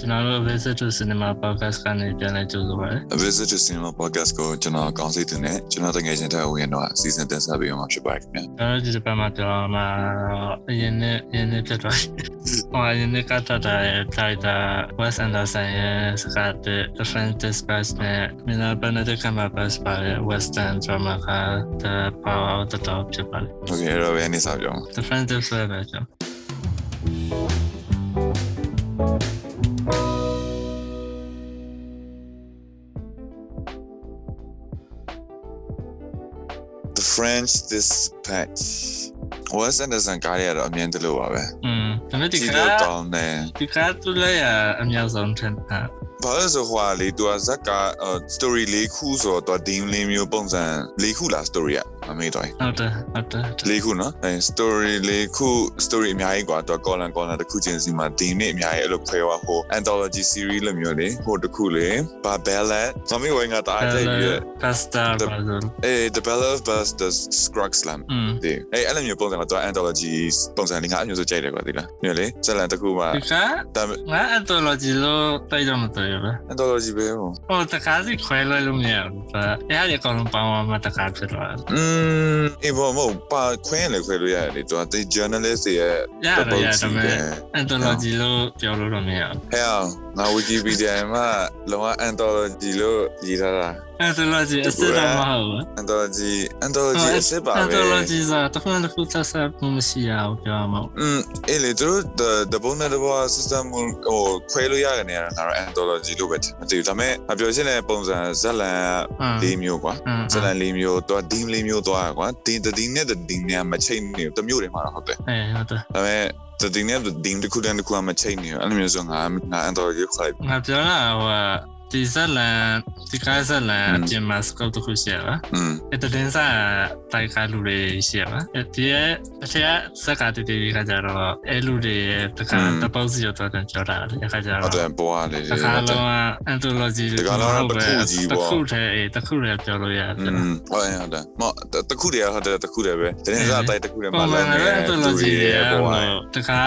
ကျွန်တော်တို့ Visit to Cinema Podcast ကနေပြန်လည်ကြိုဆိုပါရစေ A Visit to Cinema Podcast ကိုကျွန်တော်ကောင်းစိတ်သူနဲ့ကျွန်တော်တကယ်ချင်းတက်ဝင်တော့အစီအစဉ်တင်ဆက်ပေးမှာဖြစ်ပါတယ်ခင်ဗျာ ကျွန်တော်တို့ဒီတစ်ပတ်မှာပြောရမှာအရင်နဲ့အရင်နဲ့ဖြစ်သွား တယ်။ဟိုအရင်နဲ့ကတည်းကတိုက်တာ Wes Anderson ရဲ့စကားတဲ့ The French Dispatch နဲ့ Mila Benedict Cumberbatch ပါတဲ့ Western drama က The Power of the Dog ဖြစ်ပါတယ် ။ Okay အဲ့တော့ဘယ်နေ့စပြောမလဲ ။ The French Dispatch ပဲကျွန်တော် ။ The French Dispatch Wes Anderson ကားရတော့အမြင်တလို့ပါပဲ ။อืมဒါပေမဲ့ ။ ဒီ ကြည့် က လို့ကောင်းတယ် ဒီကတူလည်းအမြောက်ဆုံးထင်တာ ။ဘာလို့လဲဆိုဟွာလေသူကဇက်ကအော် story လေးခုဆိုတော့သူက theme လေးမျိုးပုံစံလေးခုလား story อ่ะအမေတော် ဟုတ်တယ်ဟုတ်တယ်ဟုတ်တယ် လေးခုနော်အဲ story လေးခု story အများကြီးกว่าတော့ column column တစ်ခုချင်းစီမှာဒီနေ့အများကြီးအဲ့လိုခွဲသွားဟို anthology series လိုမျိုးလေဟိုတစ်ခုလေဘာ ballad ငါမေဝင်ကတအားကြိုက်ပြီးတော့ ပစတာပါလို့ အဲ the ballad of bus the scrux lam อืม ဒီအဲအဲ့လိုမျိုးပုံစံကတော့ anthology ပုံစံလေးငါအမျိုးစုကြိုက်တယ်ကွာဒီလားမျိုးလေဇက်လန်တစ်ခုမှာ ဒီကငါဒါ anthology လို့တိုက်ရမှာတွေ့ရလား anthology ပဲဟို ဟိုတကားစီခွဲလိုက်လို့မရဘူးဒါအဲ့ဒါကြီးအကောင်လုံးပေါင်းအောင်မတကားဖြစ်သွား อืมအေးဘောမဟုတ်ပါခွင်းလေခွဲလို့ရတယ်လေသူကဒီ journalist တွေရဲ့ ရရ ပုံ ရဒါစံပေ ပဲ မဲ့ anthology လို့ပြောလို့တော့မရဘူး ဟဲ့အောင်ငါ Wikipedia မှာလောက anthology လို့ရေးထားတာ anthology အစစ်တော့မဟုတ်ဘူး anthology anthology အစစ်ပါပဲ anthology ဆိုတာတစ်ခုနဲ့တစ်ခုဆက်ဆက်မှုမရှိရဘူးပြောရမှာပေါ့ อืมเอเลตรู the the bonus the boss system ဟိုခွဲလို့ရကနေရတာငါတော့ anthology လို့ပဲထင်မသိဘူးဒါပေမဲ့အပြောရှင်းတဲ့ပုံစံဇက်လန် ဟုတ် ၄မျိုးကွာဇက်လန်၄မျိုးတော့ team ၄မျိုးသွားကွာ team တစ် team နဲ့တစ် team နဲ့မချိတ်နေဘူးတစ်မျိုးတည်းမှာတော့ဟုတ်တယ် အဲဟုတ်တယ် ဒါပေမဲ့တစ် team နဲ့တစ် team တစ်ခုတည်းတစ်ခုကမချိတ်နေဘူးအဲ့လိုမျိုးဆိုငါငါ anthology ခွဲ ငါပြောတာဟိုကဒီဇက်လန်ဒီကားဇက်လန် อืม အပြင်မှာ scope တစ်ခုရှိရပါ อืม အဲ့တဲ့တင်းစားတိုက်ခါလူတွေရှိရပါအဲ့ဒီရဲ့အထက်စက်ကတည်းကခါကြတော့အဲ့လူတွေရဲ့တခါ อืม တပုတ်စီတော့တော်ကြောတာလေခါကြ ဟုတ်တ တော့ ယ်ဘွားလေး တ တွေ ခါ ဟုတ်တယ် လုံးက anthology တခါလုံးကတစ်ခုကြီးတပေါ့စ်ခုတည်းအေးတစ်ခုတည်းပြောလို့ရတယ် อืมဟုတ်တယ်ဟုတ်တယ်မဟုတ်တတစ်ခုတည်းကဟုတ်တယ်တစ်ခုတည်းပဲတရင်စားတိုက်တစ်ခုတည်း ပုံ မှာလ မှန် မ်းနေ လည်း တဲ့သူ anthology တွေ တွေ ရဲ့ က ဘဝ တခါ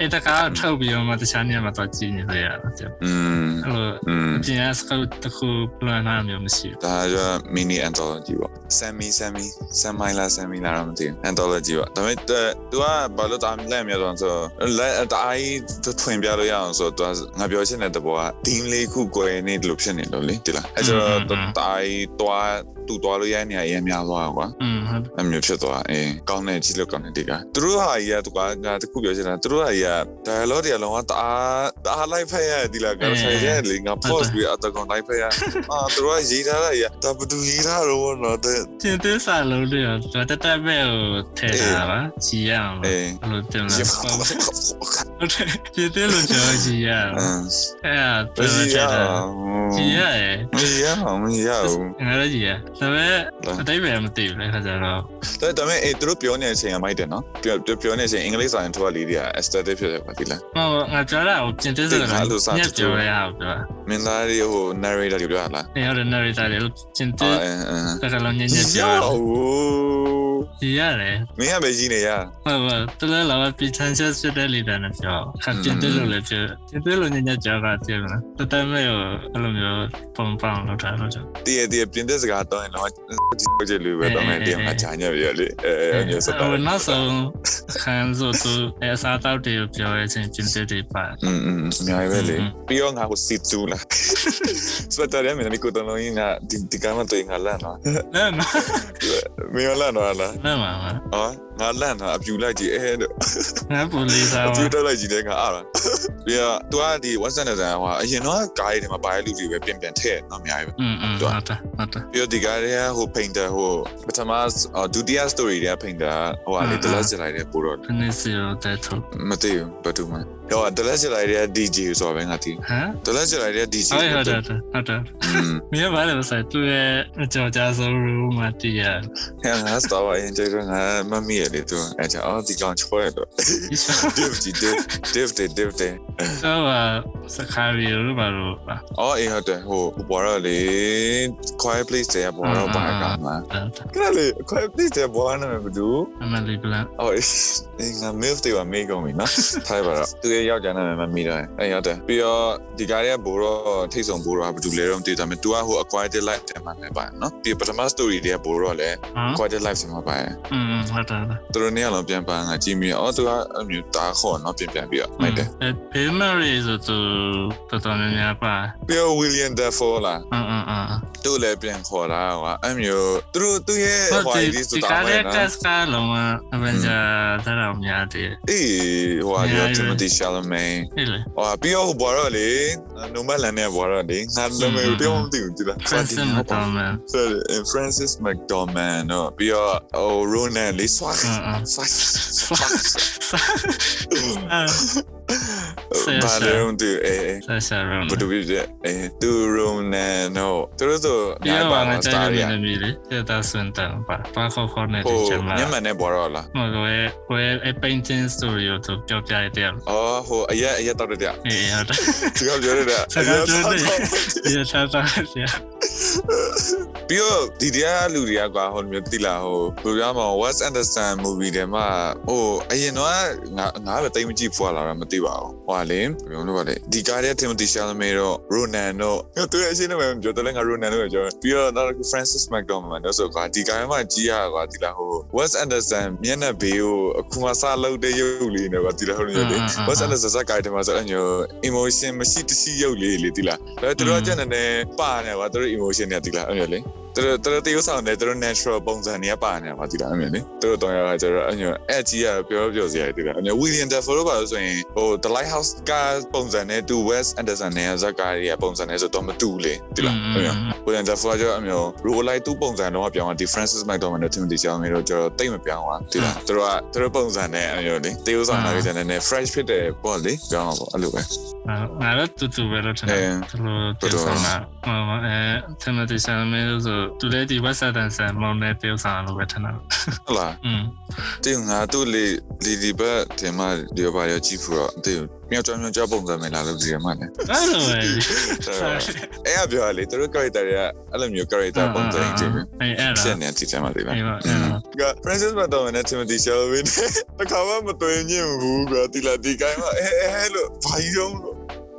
အဲ့တခါကိုထုတ်ပြီးတော့မှတခြားနေရာမှာတော့ကြည့်နေလို့ရတယ်အဲ့ อืม လို อืม ပြင်ရစကတစ်ခု plan နာမျိုးမရှိ ဒါကက mini anthology ပေါ့ semi semi semi la semi la တော့မသိဘူး anthology ပေါ့ဒါပေမဲ့သူကသူကဘာလို့တာလဲမြောက်တော့ဆိုလက်အတိုင်းသူထွင်ပြလို့ရအောင်ဆိုတော့သူကငါပြောချင်တဲ့သဘောက team လေးခု꿰နေလို့ဖြစ်နေလို့လေဒီလားအဲ့ကျတော့သူတိုင်းတွားသူ့တွားလို့ရတဲ့နေရာအရင်များသွားတာကွာ อืมဟုတ် အမျိုးဖြစ်သွားအေးကောင်းတဲ့ကြီးလောက်ကောင်းတဲ့ဒီကသူတို့ဟာကြီးကသူကငါတခုပြောချင်တာသူတို့ဟာကြီးက dialogue တွေအလုံးကတအားတအား live ဖက်ရဒီလားကောင်းဆိုင်ရဲ့လေငါ pause ပြီးအတကောင် live ဖ က်ရအာသူတို့ကရေးထားတာကြီးကဒါဘယ်သူရေးထားတော့ဘောနော်တဲ့ တင်သစ္စာလုံးတွေတော့တတပဲကိုထည့်တာပါကြည်ရအောင် အေး လို့ဘယ်လိုတင်လဲ ရေး ဟုတ်ပါဘူတးယ်ပြင်သစ်လို့ကျွန်တော်ကြည်ရအောင် အင်း အဲ့ဒါ ဘယ် တော့ ရေး ထ ရ ည့်တာ အောင် ကြည်ရတယ် မရအောင်မရအောင် ငါလည်းကြည်ရဒါပေမဲ့အလားတိတ်ပဲမသိဘူးလေခါကြတော့ ဒါဒါပေမဲ့အေးသူတို့ပြောနေတဲ့အချိန်ကမိုက်တယ်နော်ပြောပြောနေတဲ့အချိန်အင်္ဂလိပ်စာရင်ထွက်လေးတွေက aesthetic ဖြစ်တယ်ပါဒီလား ဟောငါပြောတာကိုပြင်သစ္စာ ဒါလို့ လုံး စ ည ကြည့် က်ပြောရအောင်ပြောတာ မင်းသားတွေဟို narrator တွေပြောတာလား နေရတဲ့ narrator တွေလို့ပြင်သ အာ စ္ အင်းအင်း စာလုံးညက်ည ရေး က် ရ ပြော အောင် ကြည်ရတယ် မင်းကပဲကြီးနေရ ဟုတ်ပါတလဲလာပီချန်ချက်ဖြစ်တဲ့လေတာနဲ့ပြောခပ်ပြင်သစ်လို့လည်းပြောပြင်သစ်လို့ညက်ညက်ကြောတာတယ်နော်တတမဲ့ကိုအဲ့လိုမျိုးပုံပေါင်းလောက်တာလို့ကျွန်တော် တည်ရတည်ရပြင်တဲ့စကားတော့ရင်တော့ဒီစကြလူပဲတော့မယ်တည်ရမှာဂျာညက်ပြရလေအဲအဲမျိုးစတာ 我那时候看着都哎啥到底有表演成军队的吧？ อืมอืมအများကြီးပဲလေပြီးတော့ငါကိုစီတူလာ စပတာရမင်းကိုတော့လုံးငါဒီဒီကမှတော့ငါလန့်တော့ 那嘛 မင်းလန့်တော့လား 那嘛， ဟောငါလန့်တော့အပြူလိုက်ကြည့်အဲတော့ 俺不理啥 အ 嘛 ပြူ。တက်လိုက်ကြည့်တယ်ငါအားပြီးတော့ तू ကဒီဝက်ဆန်တဲ့ဆန်ဟောအရင်တော့ကားရီတွေမှာဘာလဲလူတွေပဲပြင်ပြင်ထည့်တော့အများကြီးပဲ 嗯嗯，好的好的， ပြီးတော့ဒီကားတွေကဟို painter ဟိုပထမအော်ဒုတိယ story တွေက painter ဟိုဟာလေ the last jedi တွေပို့တော့ 肯定是有带头 မသိဘူးဘာတူမလဲဟိုတလက်ချလိုက်တဲ့ DJ ဆိုတော့ပဲငါသိတယ် 啊。 တလက်ချလိုက်တဲ့ DJ 哎，好的好的好的，明天晚上噻，对，叫家收入嘛的呀， ဟဲ့ငါစတော့အရင်ကျတော့ငါမမီရလေသူအဲ့ကျအော်ဒီကောင်ချွဲတော့ 你说 div div div div div 说吧， စကားရီလိုပါလို့ပါ အော်အေးဟုတ်တယ်ဟိုဘွာတော့လေ quiet place တွေကဘွာတော့ပါကမှာကဲလေ quiet place တွေကဘွာနာမည်ဘယ်သူ အမလီဘလန် အော်အေးငါ milf တွေပါမေးကုန်ပြီနော်ထိုင်ပါတော့သူရဲ့ယောက်ျားနာမည်မမေးတော့ဘူးအေးဟုတ်တယ်ပြီးတော့ဒီကားရဲ့ဘိုးတော့ထိတ်ဆုံးဘိုးတော့ကဘယ်သူလဲတော့မသိဘူးဒါပေမဲ့ तू ကဟို acquired life တဲ့မှာလည်းပါတယ်နော်ပြီးပထမ story တွေကဘိုးတော့လည်း ဟမ် acquired life တွေမှာပါတယ် อืมဟုတ်တယ်ဟုတ်တယ် သူတို့နေ့ကလောပြန်ပန်းငါကြည့်မိအော်သူကအဲ့မျိုးတားခေါ်နော်ပြန်ပြန်ပြီးတော့မိုက်တယ် အဲဘေးမရီဆိုသူတော်တော်များများပါ ပြီးတော့ William Dafoe လာ အင်းအင်းအင်း သူ့လည်းပြန်ခေါ်တာကွာအဲ့မျိုးသူတို့သူ့ရဲ့ ဟုတ် ဟို တယ် ဒီစ ဒီ တာ ကား မ ရ ယ် က နော် စကားလုံးဝအဗန်ဂျာတော်တော်များတယ် အေးဟိုဟာ အများ ပြော ကြီးပဲ Timothy Chalamet ဟဲ့လေ ဟိုဟာပြီးတော့ဟိုဘော်တော့လေ Nomadland နဲ့ဘော်တော့လေငါလုံးမ အင်း ပြောမသိဘူးကြည်လား Francis McDormand Sorry, Francis McDormand နော်ပြီးတော့ဟို Ronan လေးဆွာ အင်းအင်း ဆွာ ဆွာဆွာ ဘာလဲမသိဘူးအေးအေး ဆာဆာရုံး ဘယ်သူဖြစ်ဖြစ်အဲသူရုံနန်တို့သူတို့ဆို ပြောရမှာ စ ကြို တာ က် ရီ ရမယ်လေတဲ့တာစွန်တန်ပါပါခေါ်ခေါ်နေ ဟို တဲ့ချက်မှာ မြန်မာနဲ့ပေါ်တော့လား ဟိုလေဟိုအပိန်တင်စတိုရီကိုသူပြောပြလိုက်တယ် အော်ဟိုအရက်အရက်တောက်တဲ့ ။အေး ဟုတ်တယ် သူကပြောတဲ့ ။စကားပြောတယ်။ ဒီချာတာတယ် ပြီးတော့ဒီတရားလူတွေကကွာဟိုမျိုးတိလာဟိုဘယ်ပြောမှာ West Anderson movie တွေမှာဟိုအရင်တော့ငါငါပဲတိတ်မကြည့်ဖွာလာတော့မသိပါဘူးဟိုဟာလေဘယ်လိုလုပ်ပါလဲဒီကားတဲ့ Timothy Chalamet တို့ Ronan တို့သူရဲ့အရှင်းနဲ့ပဲပြောတယ်လဲငါ Ronan တို့ပဲပြောပြီးတော့နောက်တစ်ခု Francis McDormand တို့ဆိုကွာဒီကားမှာကြီးရကွာတိလာဟို West Anderson မျက်နှာဘေးကိုအခုမှစလုပ်တဲ့ရုပ်လေးနဲ့ကွာတိလာဟိုလိုမျိုးလေ West Anderson ဇာတ်ကားတွေမှာဆိုအညို emotion မရှိတရှိရုပ်လေးလေတိလာဒါသူတို့ကကြက်နေနေပါနေကွာသူတို့ emotion တွေတိလာအဲ့လိုလေ သူတို့သူတို့တေးဥဆောင်တယ်သူတို့ natural ပုံစံတွေကပါနေတာပါဒီလားအမြင်လေသူတို့တောင်ရတာကျတော့အညောအဲ့ကြီးကပြောပြောစရာတွေကအညော William Dafoe တို့ပါလို့ဆိုရင်ဟို The Lighthouse ကပုံစံနဲ့ To West Anderson နဲ့ဇာတ်ကားတွေကပုံစံနဲ့ဆိုတော့မတူလေဒီလားအညော William Dafoe ကကျတော့အညော role light သူ့ပုံစံတော့ပြောင်းတာ differences McDormand နဲ့ Timothy Chalamet တို့ကျတော့တိတ်မပြောင်းပါဒီလားသူတို့ကသူတို့ပုံစံနဲ့အညောလေတေးဥဆောင်တာတွေကလည်း fresh ဖြစ်တယ်ပေါ့လေပြောင်းပါပေါ့အဲ့လိုပဲ ။ငါတော့တူတူပဲလို့ထင်တယ်။သူတို့ပြောဆောင်တာ။ဟိုအဲသင်မတိဆန်မဲလို့ဆိုသူလည်းဒီဝက်ဆာတန်ဆန်မောင်နဲ့ပြောဆောင်လို့ပဲထင်တာ။ ဟုတ်လား อืม တေငါတို့လေလီလီဘတ်တင်မလီဘာရကြည့်ဖို့တော့တေမြောက်ကျောင်းမြောက်ကျောင်းပုံစံမယ်လာလို့ဒီရမှာလေ အဲ့လိုပဲ ။အဲ့ရပြောရလေသူတို့ character တွေကအဲ့လိုမျိုး character ပုံစံကြီးတွေ ။အဲ့အဲ့ ဖြ ဒါ စ်နေတဲ့တင်မလေးလား အေးပါ ။ အဲ့ဒါ က Princess Madonna နဲ့ Timothy Chalamet နဲ့ တခါမှမတွေ့ညင်ဘူးကွာဒီလာဒီကိုင်းမှာအဲအဲလို့ဘာကြီးတော့လို့ ။ဟောပဲဒီ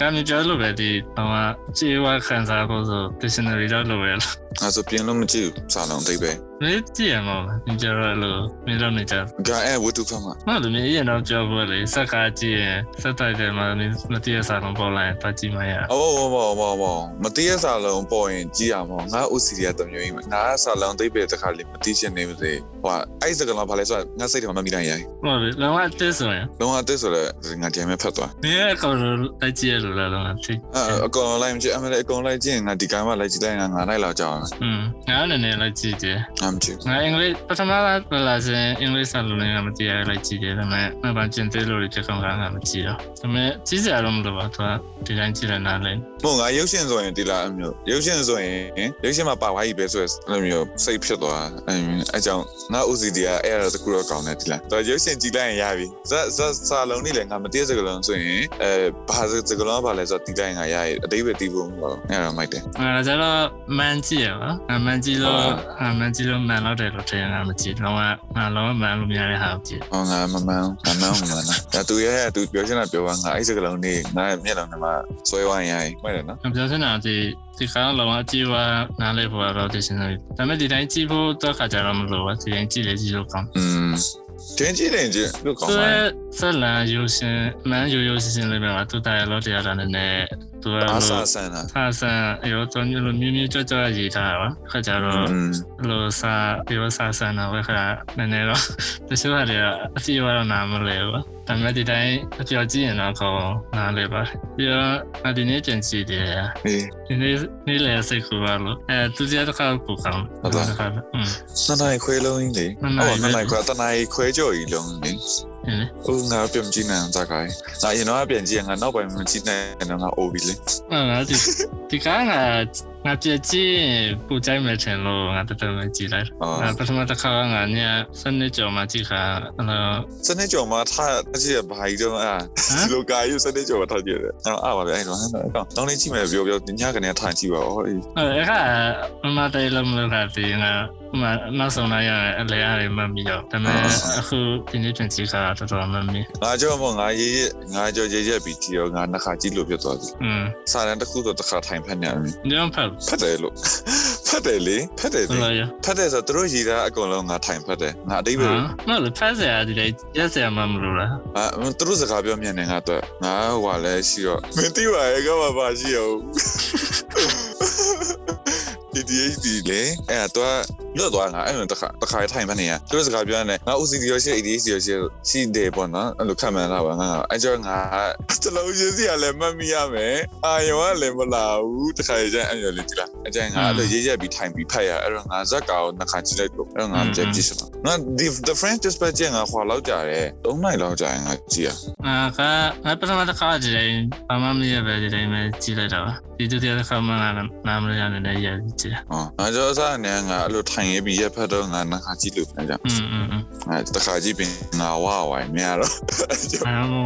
ကနေ့ကြောက်လို့ပဲဒီဟိုကခြေဝါခံစားဖို့ဆို dictionary တော့လိုပဲ ငါဆိုပြင်လို့မကြည့်ဘူးစာလုံးတိတ်ပဲ မင်းကြည့်ရမှာပါသင်ကြရလို့မင်းတော့နေကြ ။ငါအဲဝတ္ထုဖတ်မှာ မလို့မင်းအရင်တော့ကြောက်ဘူးလေစက်ကားကြည့်ရင်စက်တိုက်တယ်မှာမင်းမတိရစာလုံးပေါ်လာရင်ပတ်ကြည့်မရ အော်ဘောဘောဘောဘောမတိရစာလုံးပေါ်ရင်ကြည့်ရမှာငါ OCD ကတမျိုးကြီးမှာငါကစာလုံးတိတ်ပဲတခါလေးမတိရှင်းနေမသေးဟိုအဲ့စကလုံးဘာလဲဆိုတော့ငါစိတ်ထဲမှာမမိနိုင်ရ ဟုတ်ပြီလောကအတက်ဆိုရင် လုံးဝအသက်ဆိုတော့ငါကြမ်းမဲ့ဖတ်သွား မင်းအကောင်လုံးတိုက်ကြည့်ရလို့လားလောကသိ အဲအကောင်လိုက်မကြည့်အမလည်းအကောင်လိုက်ကြည့်ရင်ငါဒီကောင်မှလိုက်ကြည့်လိုက်ငါငါလိုက်လာကြအောင် อืมငါနည်းနည်းလိုက်ကြည့်တယ် ငါမကြည့် ငါအင်္ဂလိပ်ပထမကလာစဉ်အင်္ဂလိပ်စာလုံးလည်းမတိရလိုက်ကြည့်တယ်ဒါပေမဲ့နောက်ပိုင်းကျင်သေးလို့လည်းချက်ကောင်ကငါမကြည့်တော့ဒါပေမဲ့ကြည့်စရာတော့မလိုပါသူကဒီတိုင်းကြည့်ရနားလဲ မို့ငါရုပ်ရှင်ဆိုရင်ဒီလားအမျိုးရုပ်ရှင်ဆိုရင်ရုပ်ရှင်မှာပါဝါကြီးပဲဆိုရယ်အဲ့လိုမျိုးစိတ်ဖြစ်သွားအဲအဲကြောင့်ငါ OCD ကအဲ့ရတကူတော့ကောင်းတယ်ဒီလားတော်ရုပ်ရှင်ကြည့်လိုက်ရင်ရပြီဇက်ဇက်စာလုံးနေလေငါမတည့်စကလုံးဆိုရင်အဲဘာစကလုံးကဘာလဲဆိုတော့ဒီတိုင်းငါရရအတိပဲတီးဖို့မဟုတ်အဲ့တော့မိုက်တယ် ငါကြတော့မန်ကြည့်ရပါငါမန်ကြည့်လို့ငါမန်ကြည့်လို့မန်တော့တယ်လို့ထင်ငါမကြည့်လောကငါလောကမန်လို့များတဲ့ဟာကိုကြည့် ဟောငါမမန်းမမန်းမမန်းဒါသူရဲ့သူပြောချင်တာပြောပါငါအဲ့စကလုံးနေငါမျက်လုံးထဲမှာဆွဲဝိုင်းရရင်မိုက်တယ်နော် ။ပြောချင်တာဒီဒီခါတော့လောကကြည့်ပါနားလေပေါ်တော့ဒီစင်နေ။ဒါပေမဲ့ဒီတိုင်းကြည့်ဖို့တော့ခါကြတော့မလို့ပါဒီတိုင်းကြည့်လေကြည့်လို့ကောင်း อืมတင်းကြည့်တယ်ကြည့်လို့ ။ ကော သူ င်းကပါလား ဆက်လာရိုးရှင်မန်းရိုးရိုးစင်စင်လေးပဲပါသူတရားလို့တရားတာနဲ့နဲ့သူက အား လို့ စားဆန်းတာ ဖာဆန်ရောတော့ညလိုမြင်းမြင်းကြောက်ကြောက်ရေးထားတာပါ။ခါကြ อื တော့ ม လိုစာပြောစာဆန်တော့ခါနည်းနည်းတော့ တချို့ဟာတွေကအစီအဝါတော့နားမလဲပါ။ဒါပေမဲ့ဒီတိုင်းအပြောကြည့်ရင်တော့ကောင်းနားလေပါ။ပြီးတော့ဒီနေ့ကြင်ကြည့်တယ် အေး ဒီနေ့နေ့လည်စိတ်ကူပါလို့အဲသူစရတစ်ခါကိုကောင်း ဟုတ်လား တစ်ခါပဲอืม နှစ်နိုင်ခွဲလုံးကြီးနှလေစ်နာရီ အော်နှစ်နိုင်ခွဲတစ်နိုင်ခွဲကြော်ကြီးလုံးလေ ဟင်းလေ ဦးငါပြန်ကြည့်နိုင်အောင်စကားကြီးငါအရင်တော့ကပြန်ကြည့်ရင်ငါနောက်ပိုင်းမကြည့်နိုင်တော့ငါအိုပြီလေ အဲ့ဒါဒီဒီကားက ငါပြည့်ကြည့်ပူကြိုက်မယ်ထင်လို့ငါတော်တော်မကြည့်လိုက် အော် ငါပထမတစ်ခါကငါညစနစ်ကြော်မှကြည့်ခါအဲ့တော့ စနေကြော်မှာထားအကြည့်ရဘာကြီးတော့အာ ဟမ် ဒီလိုကာယူစနေကြော်မှာထားကြည့်တယ်အဲ့တော့အာပါဗျအဲ့တော့ဟမ်အဲ့တော့တောင်းလေးကြည့်မယ်ပြောပြောညကနေထားကြည့်ပါအော်အေး အဲ့ခါမမတိုင်လုံးလို့ခါတည်ငါမနောက်ဆုံးလိုက်ရတယ်အလဲအရမမီတော့ဒါပေမဲ့အခုဒီနေ့တင်ကြည့်ခါတော်တော်မမီ ငါကြော်မောငါရေးရငါကြော်ရေးရပြီးတီရောငါနှစ်ခါကြည့်လို့ဖြစ်သွားပြီ อืม စာရန်တစ်ခုတော့တစ်ခါထိုင်ဖက်နေရပြီ ညောင်းဖတ် ဖတ်တယ်လို့ ဖတ်တယ်လေဖတ်တယ်လေ လို့ရ ဖတ်တယ်ဆိုတော့သူတို့ရေးတာအကုန်လုံးငါထိုင်ဖတ်တယ်ငါအတိပ္ပာယ် 啊，那是拍摄啊，这类也是也蛮不如了。 အာမင်းသူတို့စကားပြောမြန်နေငါတော့ငါဟိုကလည်းရှိတော့မင်းသိပါရဲ့ကောပါပါရှိရော ADHD လေအဲ့တော့လွတ်သွားငါအဲ့လိုတစ်ခါတစ်ခါထိုင်မနေရသူတို့စကားပြောနေငါ OCD ရောရှိ ADHD ရောရှိရှိတယ်ပေါ့နော်အဲ့လိုခံမှန်းလာပါငါအဲ့ကြောင့်ငါစလုံးရေးစီကလည်းမတ်မိရမယ်အာယောကလည်းမလာဘူးတစ်ခါကျရင်အဲ့လိုလေးဒီလားအကျရင်ငါအဲ့လိုရေးရပြီးထိုင်ပြီးဖတ်ရအဲ့တော့ငါဇက်ကောင်နှစ်ခါကြည့်လိုက်တော့အဲ့တော့ငါကြက်ကြည့်စမ်းငါဒီ the french dispatch ကငါခွာလောက်ကြတယ်၃နိုင်လောက်ကြရင်ငါကြည့်ရ 啊，他那不是嘛？他搞这类，爸妈没有白这类没积累到吧？你这天他搞嘛？那那么样的那也积累。 อ๋อငါကြောအစားနဲ့ငါအဲ့လိုထိုင်ရပြီးရက်ဖက်တော့ငါနှခါကြည့်လို့ပြန်ကြ 嗯嗯嗯， ငါတခါကြည့်ပြီးငါဝဝိုင်မရတော့ 然后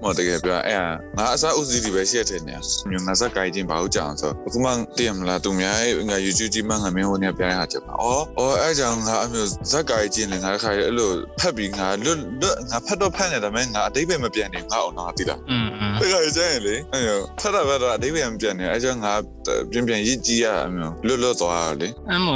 我 မတကယ်ပြောအဲ့ငါအစား OCD ပဲရှိရတဲ့နေမြန်ငါစက်ကိုင်းချင်းဘာလို့ကြောင်ဆိုအခုမှတည့်မလားသူများငါ YouTube ကြည့်မှငါမင်းဟိုနေပြရတာချက်ပါဩဩအဲ့ကြောင့်ငါအမျိုးစက်ကိုင်းချင်းလေငါတခါအဲ့လိုဖက်ပြီးငါလွတ်လွတ်ငါဖက်တော့ဖက်နေတယ်မဲငါအတိတ်ပဲမပြန်နေငါအောင်တော့တိလား 嗯嗯 တကယ်ကျရင်လေအဲ့တော့ဖတ်တာဖတ်တာအတိတ်ပဲမပြန်နေအဲ့ကြောင့်ငါပြန်ပြန်ရစ်ကြည့်ရအမျိုးလွတ်လွတ်သွားလေ，那么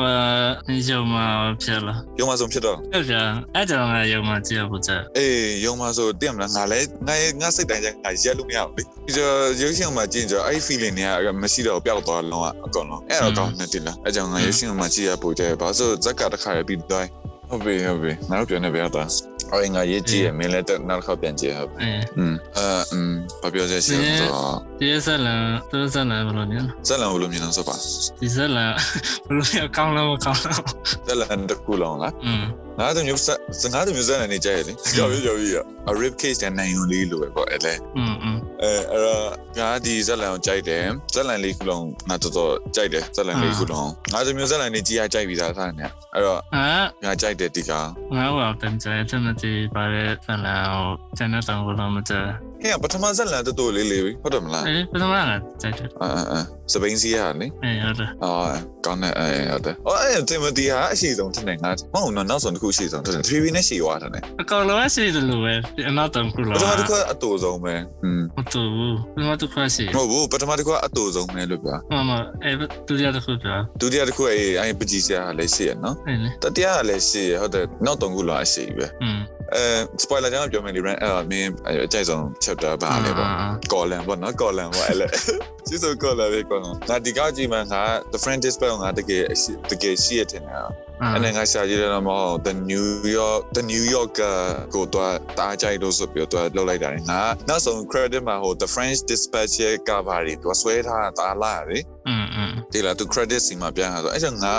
你就嘛撇了， ရုံမဆုံးဖြစ်တော့ 要不然俺这俺要嘛接不着。 အေးယုံမဆိုတင်မလားငါလည်းငါငါစိတ်တိုင်းကျငါရက်လို့မရဘူးလေပြီးတော့ရုပ်ရှင်မှာကြည့်ကြအဲ့ feeling တွေကမရှိတော့ပျောက်သွားလုံးဝအကုန်လုံးအဲ့တော့ကောင်းနေတယ်လားအဲ့ကြောင့်ငါရုပ်ရှင်မှာကြည့်ရပို့တယ်ဘာလို့ဇက်ကတစ်ခါရပြီးတိုင်းဟုတ်ပြီဟုတ်ပြီနောက်တော့ပြန်နေပြတာအော်ငါရေးကြည့်ရမင်းလည်းနောက်တစ်ခါပြန်ကြည့်ဟုတ် 哎， อืมအဲอืมဘာပြောချင်ရှိတော့ 第三轮都是轮不如你， ဇက်လန်ဘယ်လိုမြင်လဲဆိုပါ 第三轮不如要刚了我刚了。 ဇက်လန်တစ်ခုလုံးလား 嗯， ငါတို့မျိုးစငါတို့မျိုးဇက်လန်နေကြရလေ ကြောက်ရကြောက်ရအ rip case တဲ့နိုင်ုံလေးလိုပဲပေါ့အဲ့လေ 嗯嗯， အဲအဲ့တော့ငါဒီဇက်လန်ကိုကြိုက်တယ်ဇက်လန်လေးခုလုံးငါတော်တော်ကြိုက်တယ်ဇက်လန်လေးခုလုံးငါဒီမျိုးဇက်လန်လေးကြီးရကြိုက်ပြီးသားသားနဲ့အဲ့တော့ 啊。 ငါကြိုက်တယ်ဒီကောင် ငါ့ဘာတင်ကြဲတယ်မတိပါလေဆန်လာဟိုကျန်တဲ့တောင်ကိုတော့မကြဲ ဟဲ့ကပထမဇက်လန်တော်တော်လေးလေးပဲဟုတ်တယ်မလား အဲပထမကကြိုက်တယ် အာအာအာစပိန်စီရလေ အဲဟုတ်တယ် အော်ကောင်းတယ်အဲဟုတ်တယ်အော်အဲ့တင်မတီဟာအရှိဆုံးတစ်နေငါမဟုတ်တော့နောက်ဆုံးတစ်ခုအရှိဆုံးတစ်နေဖြည်းဖြည်းနဲ့ရှည်သွားတယ် အကောင်လုံးရှိတယ်လို့ပဲအနောက်တောင်ကူ ပ လော ထမတစ်ခုအတူဆုံးပဲอืม မတူဘူးပထမတစ်ခါရှိ မဟုတ်ဘူးပထမတစ်ခုအတူဆုံးပဲလို့ပြော မမအဲဒုတိယတစ်ခုပြော ဒုတိယတစ်ခုအေးအဲပကြီးစရာလည်းရှည်ရနော် အဲလေ တတိယလည်းရှည်ရဟုတ်တယ်နောက်သုံးခုလောက်အရှိပဲ อืม အဲ spoiler ကြောင့်ပြောမယ်လေ brand အဲ့မင်းအကြိုက်ဆုံး chapter ပါလေပေါ့ column ပေါ့နော် column ပေါ့အဲ့လေကျေးဇူး column ပဲ column ငါဒီကောက်ကြည့်မှငါ the friend dispatch ကိုငါတကယ်အရှိတကယ်ရှိရတင်တာအဲ့နဲ့ငါရှာကြည့်ရတော့မဟုတ် the new york the new yorker ကိုတော့တအားကြိုက်လို့ဆိုပြီးတော့လောက်လိုက်တာလေငါနောက်ဆုံး credit မှာဟို the french dispatch ရဲ့ cover တွေသူကဆွဲထားတာတအားလာတယ် อืมอืม ဒီလားသူ credit စီမှာပြန်လာဆိုအဲ့ကြောင့်ငါ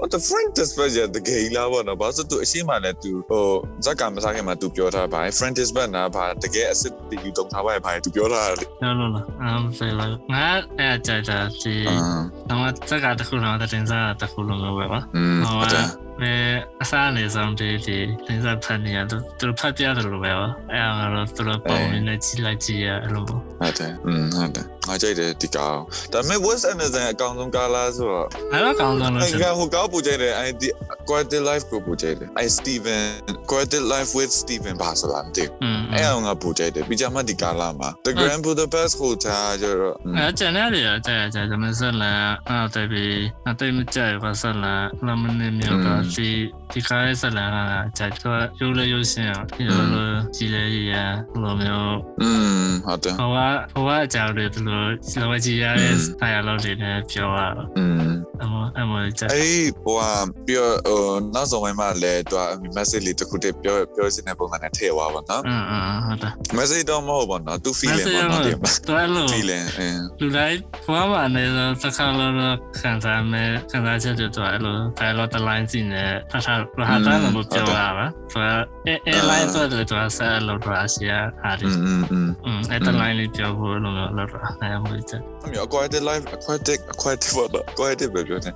what the friend dispatch ရတကယ်ကြီးလားဗောနော်ဘာလို့သူအရှိမလဲသူဟိုဇက်ကမစားခင်မှာသူပြောထားပါတယ် friend dispatch နာဘာတကယ် asset တီယူတုံထားပါတယ်ဘာသူပြောထားတယ် ပြောလို့လားအမ်ဖေလာငါအဲကြိုက်တာဒီ အင်း တော့စကားတစ်ခုတော့တင်စားတစ်ခုလုံးပဲပါ อืมဟုတ်တယ် မဲအစားအနေဆုံးဒီဒီသင်္စားဖတ်နေရသူသူတို့ဖတ်ပြတယ်လို့ပဲပါအဲအောင်တော့သူတို့ပုံနေနဲ့ကြီးလိုက်ကြည့်ရအဲ့လိုပေါ့ ဟုတ်တယ်อืมဟုတ်တယ်ငါကြိုက်တယ်ဒီကောင်ဒါပေမဲ့ West Anderson အကောင်ဆုံးကားလားဆိုတော့ အဲ့တော့ကောင်းဆုံးလို့ အဲ့ ဆို ကဟိုကောက်ပူကြိုက်တယ်အဲ့ဒီ Quarter Life ကိုပူကြိုက်တယ်အဲ့ Steven Quarter Life with Steven ဘာဆိုလားမသိဘူး อืม အဲ့အောင်ကပူကြိုက်တယ်ပြီးကြမှဒီကာလာမှာ The Grand Budapest Hotel ကျတော့อืม အဲ့ကျန်တဲ့တွေကြာကြာကျွန်မဆက်လာအဲ့တော့တပီအတိတ်မကြိုက်ပါဆက်လာလမ်းမနေမျိုးကဒီဒီကားရဲ့ဆက်လာတာကြာတော့ရိုးလေရိုးရှင်းအောင်ဒီလိုလိုကြီးလေရလိုမျိုး อืมဟုတ်တယ် ဘဝဘဝအကြောင်းတွေဒီလိုစလောကြီးရတဲ့ဆိုင်ရလို့တွေနဲ့ပြောရတော့ อืม အမအမကြက် အဲ့ဒီဟိုဟာပြီးတော့ဟိုနောက်ဆုံးပိုင်းမှာလည်းသူက message လေးတစ်ခုတည်းပြောပြောချင်တဲ့ပုံစံနဲ့ထည့်သွားပါတော့ အင်းအင်းအင်းဟုတ်တာ message တော့မဟုတ်ပါတော့သူ feeling ပေါ့နော်ဒီမှာ တော်လို့ feeling အင်း လူတိုင်းဘာမှမနေတော့တစ်ခါတော့ခံစားမယ်ခံစားချက်တွေတော့အဲ့လို dialogue တစ်လိုင်းစီနဲ့ဖတ်ထားရတာလည်းမပြောရပါဆိုတော့အဲအဲ line တော့တော်တော်ဆက်လို့တော့ဆရာအားရ อืมอืมอืม อืมไอ้ตะไลน์นี่เปียวโหลงแล้วแล้วนะมวยจ้ะ အမျိုး aquatic life aquatic aquatic ပေါ့နော် aquatic ပဲပြောတယ်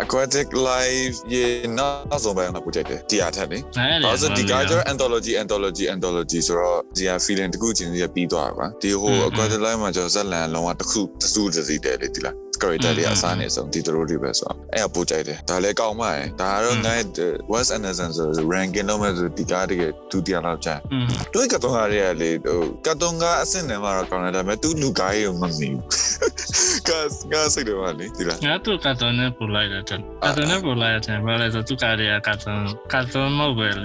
aquatic life ရေနောက်ဆုံးပိုင်းမှာပူကြိုက်တယ်တရားထက်လေ နားရတယ် ဒါဆိုဒီ culture anthology anthology anthology ဆိုတော့ဒီဟာ feeling တစ်ခုချင်းစီကပြီးသွားတာပါဒီဟို aquatic life မှာကျွန်တော်ဇက်လန်လုံးဝတစ်ခုတစ်စုတစ်စီတည်းလေဒီလား character တွေအစားနေဆုံးဒီတို့တွေပဲဆိုတော့အဲ့ဒါပူကြိုက်တယ်ဒါလည်းကောင်းပါရဲ့ဒါကတော့ငါ West Anderson ဆို ranking လုံးမဲ့ဆိုဒီကားတကယ်ဒုတိယလောက်ကျ อืม တို့ကတုံးကားတွေကလေဟိုကတုံးကားအဆင့်တန်းမှာတော့ကောင်းတယ်ဒါပေမဲ့သူ့လူကားရေကိုမမီဘူး ကတ်ကတ်စိတ်တယ်ပါလေဒီလား ငါတို့ကတော့နေပူလိုက်တယ်ကတော့နေပူလိုက်တယ်ဘာလဲဆိုသူကတည်းကကတော့ကတော့မဟုတ်ပဲလေ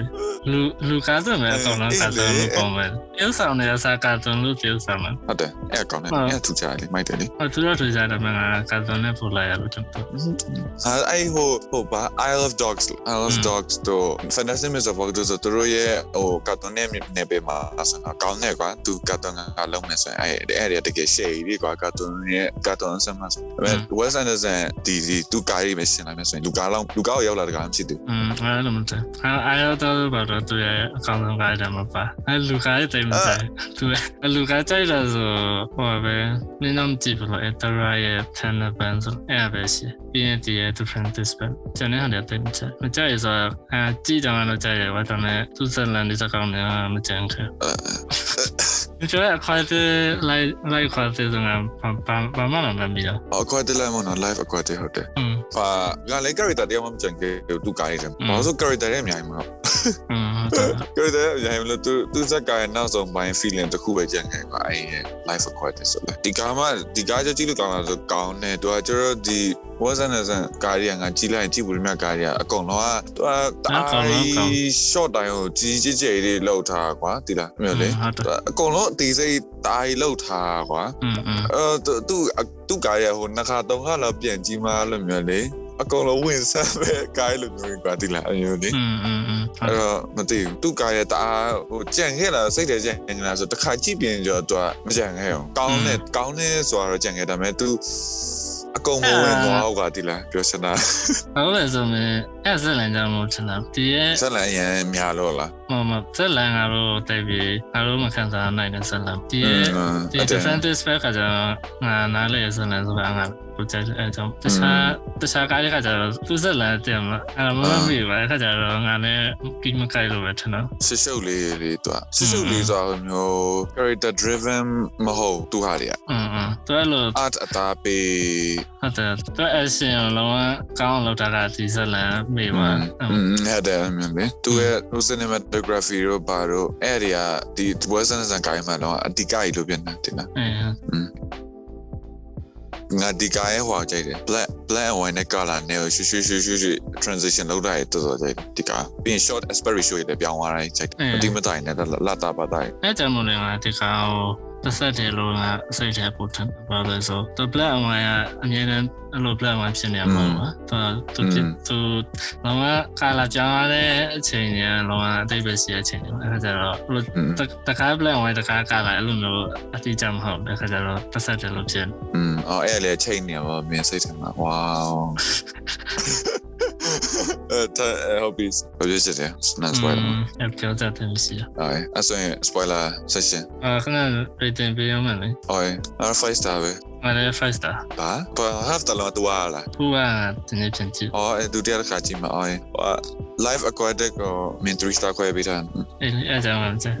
လူလူကားစမယ်အကောင်လားကတော့လို့ပုံပဲပြုဆောင်နေရစားကတော့လို့ပြုဆောင်မှာ ဟုတ်တယ်အဲ့ကောင်းတယ်အဲ့ထူချတယ်လေမိုက်တယ်လေ ဟောသူတို့တွေ့ကြတယ်မှာကတော့နေပူလိုက်ရလို့ကျွန်တော် ဟာအဲ့ဟိုဟိုဘာ I love dogs I love dogs တို့ Fantastic Mr. Fox တို့ဆိုသူတို့ရဲ့ဟိုကတ်တုံးနဲ့နေပေမှာဆိုတော့ကောင်းတယ်ကွာသူကတ်တုံးကလုံးမယ်ဆိုရင်အဲ့အဲ့တွေကတကယ် shady တွေကွာကတ်တုံးရဲ့ကတ်တုံးဆက်မှာဆိုဒါပေမဲ့ Wes Anderson ဒီဒီသူကားရေးပဲရှင်းလာမယ်ဆိုရင်လူကားလောက်လူကားကိုရောက်လာတကားမှဖြစ်တယ် อืมအဲ့လိုမတအာအာရတော့ဘာလို့သူရဲ့အကောင်ဆုံးကားတယ်မှာပါအဲ့လူကားတိတ်မဆိုင်သူအဲ့လူကားကြိုက်တာဆိုဟောပဲနင်းအောင်ကြည့်လို့အဲ့တရရဲ့10 band ဆိုအဲ့ပဲရှိပြီးရင်ဒီရဲ့ different disband ကျန်တဲ့ဟာတွေတိတ်မဆိုင်မကြိုက်ဆိုအာကြည့်တယ်မလို့ကြိုက်ရပါတော့မဲ့သူစလန်ဒီစကောင်နေမကြမ်းခဲကျွန်တော်အခွင့်အရေးလိုက်လိုက်ခွင့်အရေးဆိုတာဘာဘာမှမလုပ်မိတော့ aquatic လိုက်မဟုတ်နော် live aquatic ဟုတ်တယ် อืม ပါငါလည်း character တရားမှမကြံခဲ့ဘူးသူကားရတယ် อืม ဘာလို့ဆို character ရဲ့အများကြီးမဟုတ် อืม character ရဲ့အများကြီးမလို့သူသူဇက်ကာရဲ့နောက်ဆုံးပိုင်း feeling တစ်ခုပဲကြံခဲ့ကွာအဲ့ဒီ life aquatic ဆိုလဲဒီကားမှဒီကားကြကြည့်လို့ကောင်းလားဆိုကောင်းတယ်သူကကျန်တော့ဒီ wasn't as ကားရငါကြည့်လိုက်ရင်ကြည့်ဘူးလေမြတ်ကားရအကုန်လုံးကသူကတ ကောင်း အား ကောင်းကောင်း ကြီး short time ကိုကြီးကြီးကျယ်ကျယ်လေးလောက်ထားကွာဒီလားအမျိုးလေ ဟုတ် သူ တယ် ကအကုန်လုံးအသေးစိတ်တအားကြီးလောက်ထားကွာ อืมอืม အဲသူသူအသူ့ကားရဟိုနှစ်ခါသုံးခါလောက်ပြန်ကြည့်မှလို့မျိုးလေအကောင်လုံးဝင်ဆက်ပဲကားရလို့မျိုးကွာတိလားအမျိုးလေ อืมอืมอืม အဲ့တော့မသိဘူးသူ့ကားရတအားဟိုကြံခဲ့လားစိတ်တယ်ကြံခဲ့လားဆိုတစ်ခါကြည့်ပြင်ကြတော့သူကမကြံခဲ့အောင်ကောင်းတယ်ကောင်းတယ်ဆိုတော့ကြံခဲ့ဒါပေမဲ့ तू အကောင်မဝင်သွားဟုတ်ကွာတိလားပြောစနာ ဟုတ်လဲဆိုမြင်အဲ့ဇက်လန်ကြောင့်မဟုတ်ချင်တာဒီရဲ့ ဆက်လာရင်များလို့လား ဟိုမှာဇက်လန်ကတော့တိုက်ပြီးအားလုံးမခံစားနိုင်တဲ့ဇက်လန်ဒီရဲ့ဒီ အဲ့ defense spec ကကြောင့်ငါနားလဲဇက်လန်ဆိုတာငါကိုကြိုက်တဲ့အဲ့ကြောင့်တခြားတခြားကားတွေကကြတော့သူဇက်လန်တင်မှာအဲ့မမမီပါအဲ့ကကြတော့ငါလည်းကိမကိုက်လို့ပဲထင်တော့ ရှုပ်ရှုပ်လေးလေးသူကရှုပ်ရှုပ်လေးဆိုတော့မျိုး character driven မဟုတ်သူဟာတွေက อืมอืมตัวလို့ art အသားပေး ဟုတ်တယ်ตัว action လုံးဝကောင်းလောက်တာကဒီဇက်လန်မိပါ ဟုတ်တယ်မြင်ပြီသူရဲ့ cinematography ရောဘာရောအဲ့ဒီကဒီ Western စံကိုင်းမှာတော့အတိကကြီးလို့ပြန်နေတယ်နော် အင်း ငါဒီကရဲ့ဟွာကြိုက်တယ် black black and white နဲ့ color နဲ့ရွှေရွှေရွှေရွှေရွှေ transition လောက်တာရတော်တော်ကြိုက်တယ်ဒီကပြီးရင် short aspect ratio တွေပြောင်းသွားတိုင်းကြိုက်တယ် အင်း မတိမတိုင်နဲ့လာတာပါတိုင်း အဲ့ကြောင့်မလို့ငါဒီကောင်ကိုတစ်ဆက်တယ်လို့ငါအစိတ်ထဲပို့ထားတာပါလို့ဆိုတော့ black and white ကအများတန်းအဲ့လို black and white ဖြစ်နေရမှာပါသူသူသူလောကကာလာကြောင်းတဲ့အချိန်ညာလောကအတိတ်ပဲရှိတဲ့အချိန်ညာအဲ့ဒါကြတော့အဲ့လို อืม တခါ black and white တခါကာလာအဲ့လိုမျိုးအတိအကျမဟုတ်ဘူးအဲ့ဒါကြတော့တစ်ဆက်တယ်လို့ဖြစ်နေ อืมအော်အဲ့လေချိန်နေပါမင်းစိတ်ထဲမှာ wow အဲတာ hobbies ဘာဖြစ်စေတယ်စနစ်စ Mm. ပွိုင်လာ အဲ့ကြောင့်တတ်တယ်မရှိဘူး အဲ့အဆိုရင် spoiler session အခဏပြည်တင်ပြရမယ်လေ အော်အဲ့5 star ပဲ ငါလည်း five star ဘာဘာ half တလောက်သွားလား ခုကဒီနေ့ပြန်ကြည့် အော်အဲ့ဒုတိယတစ်ခါကြည့်မှာအော်ဟို live aquatic ကို min 3 star ခွဲပေးတာ အဲ့အဲ့ကြောင့်မှမကြည့်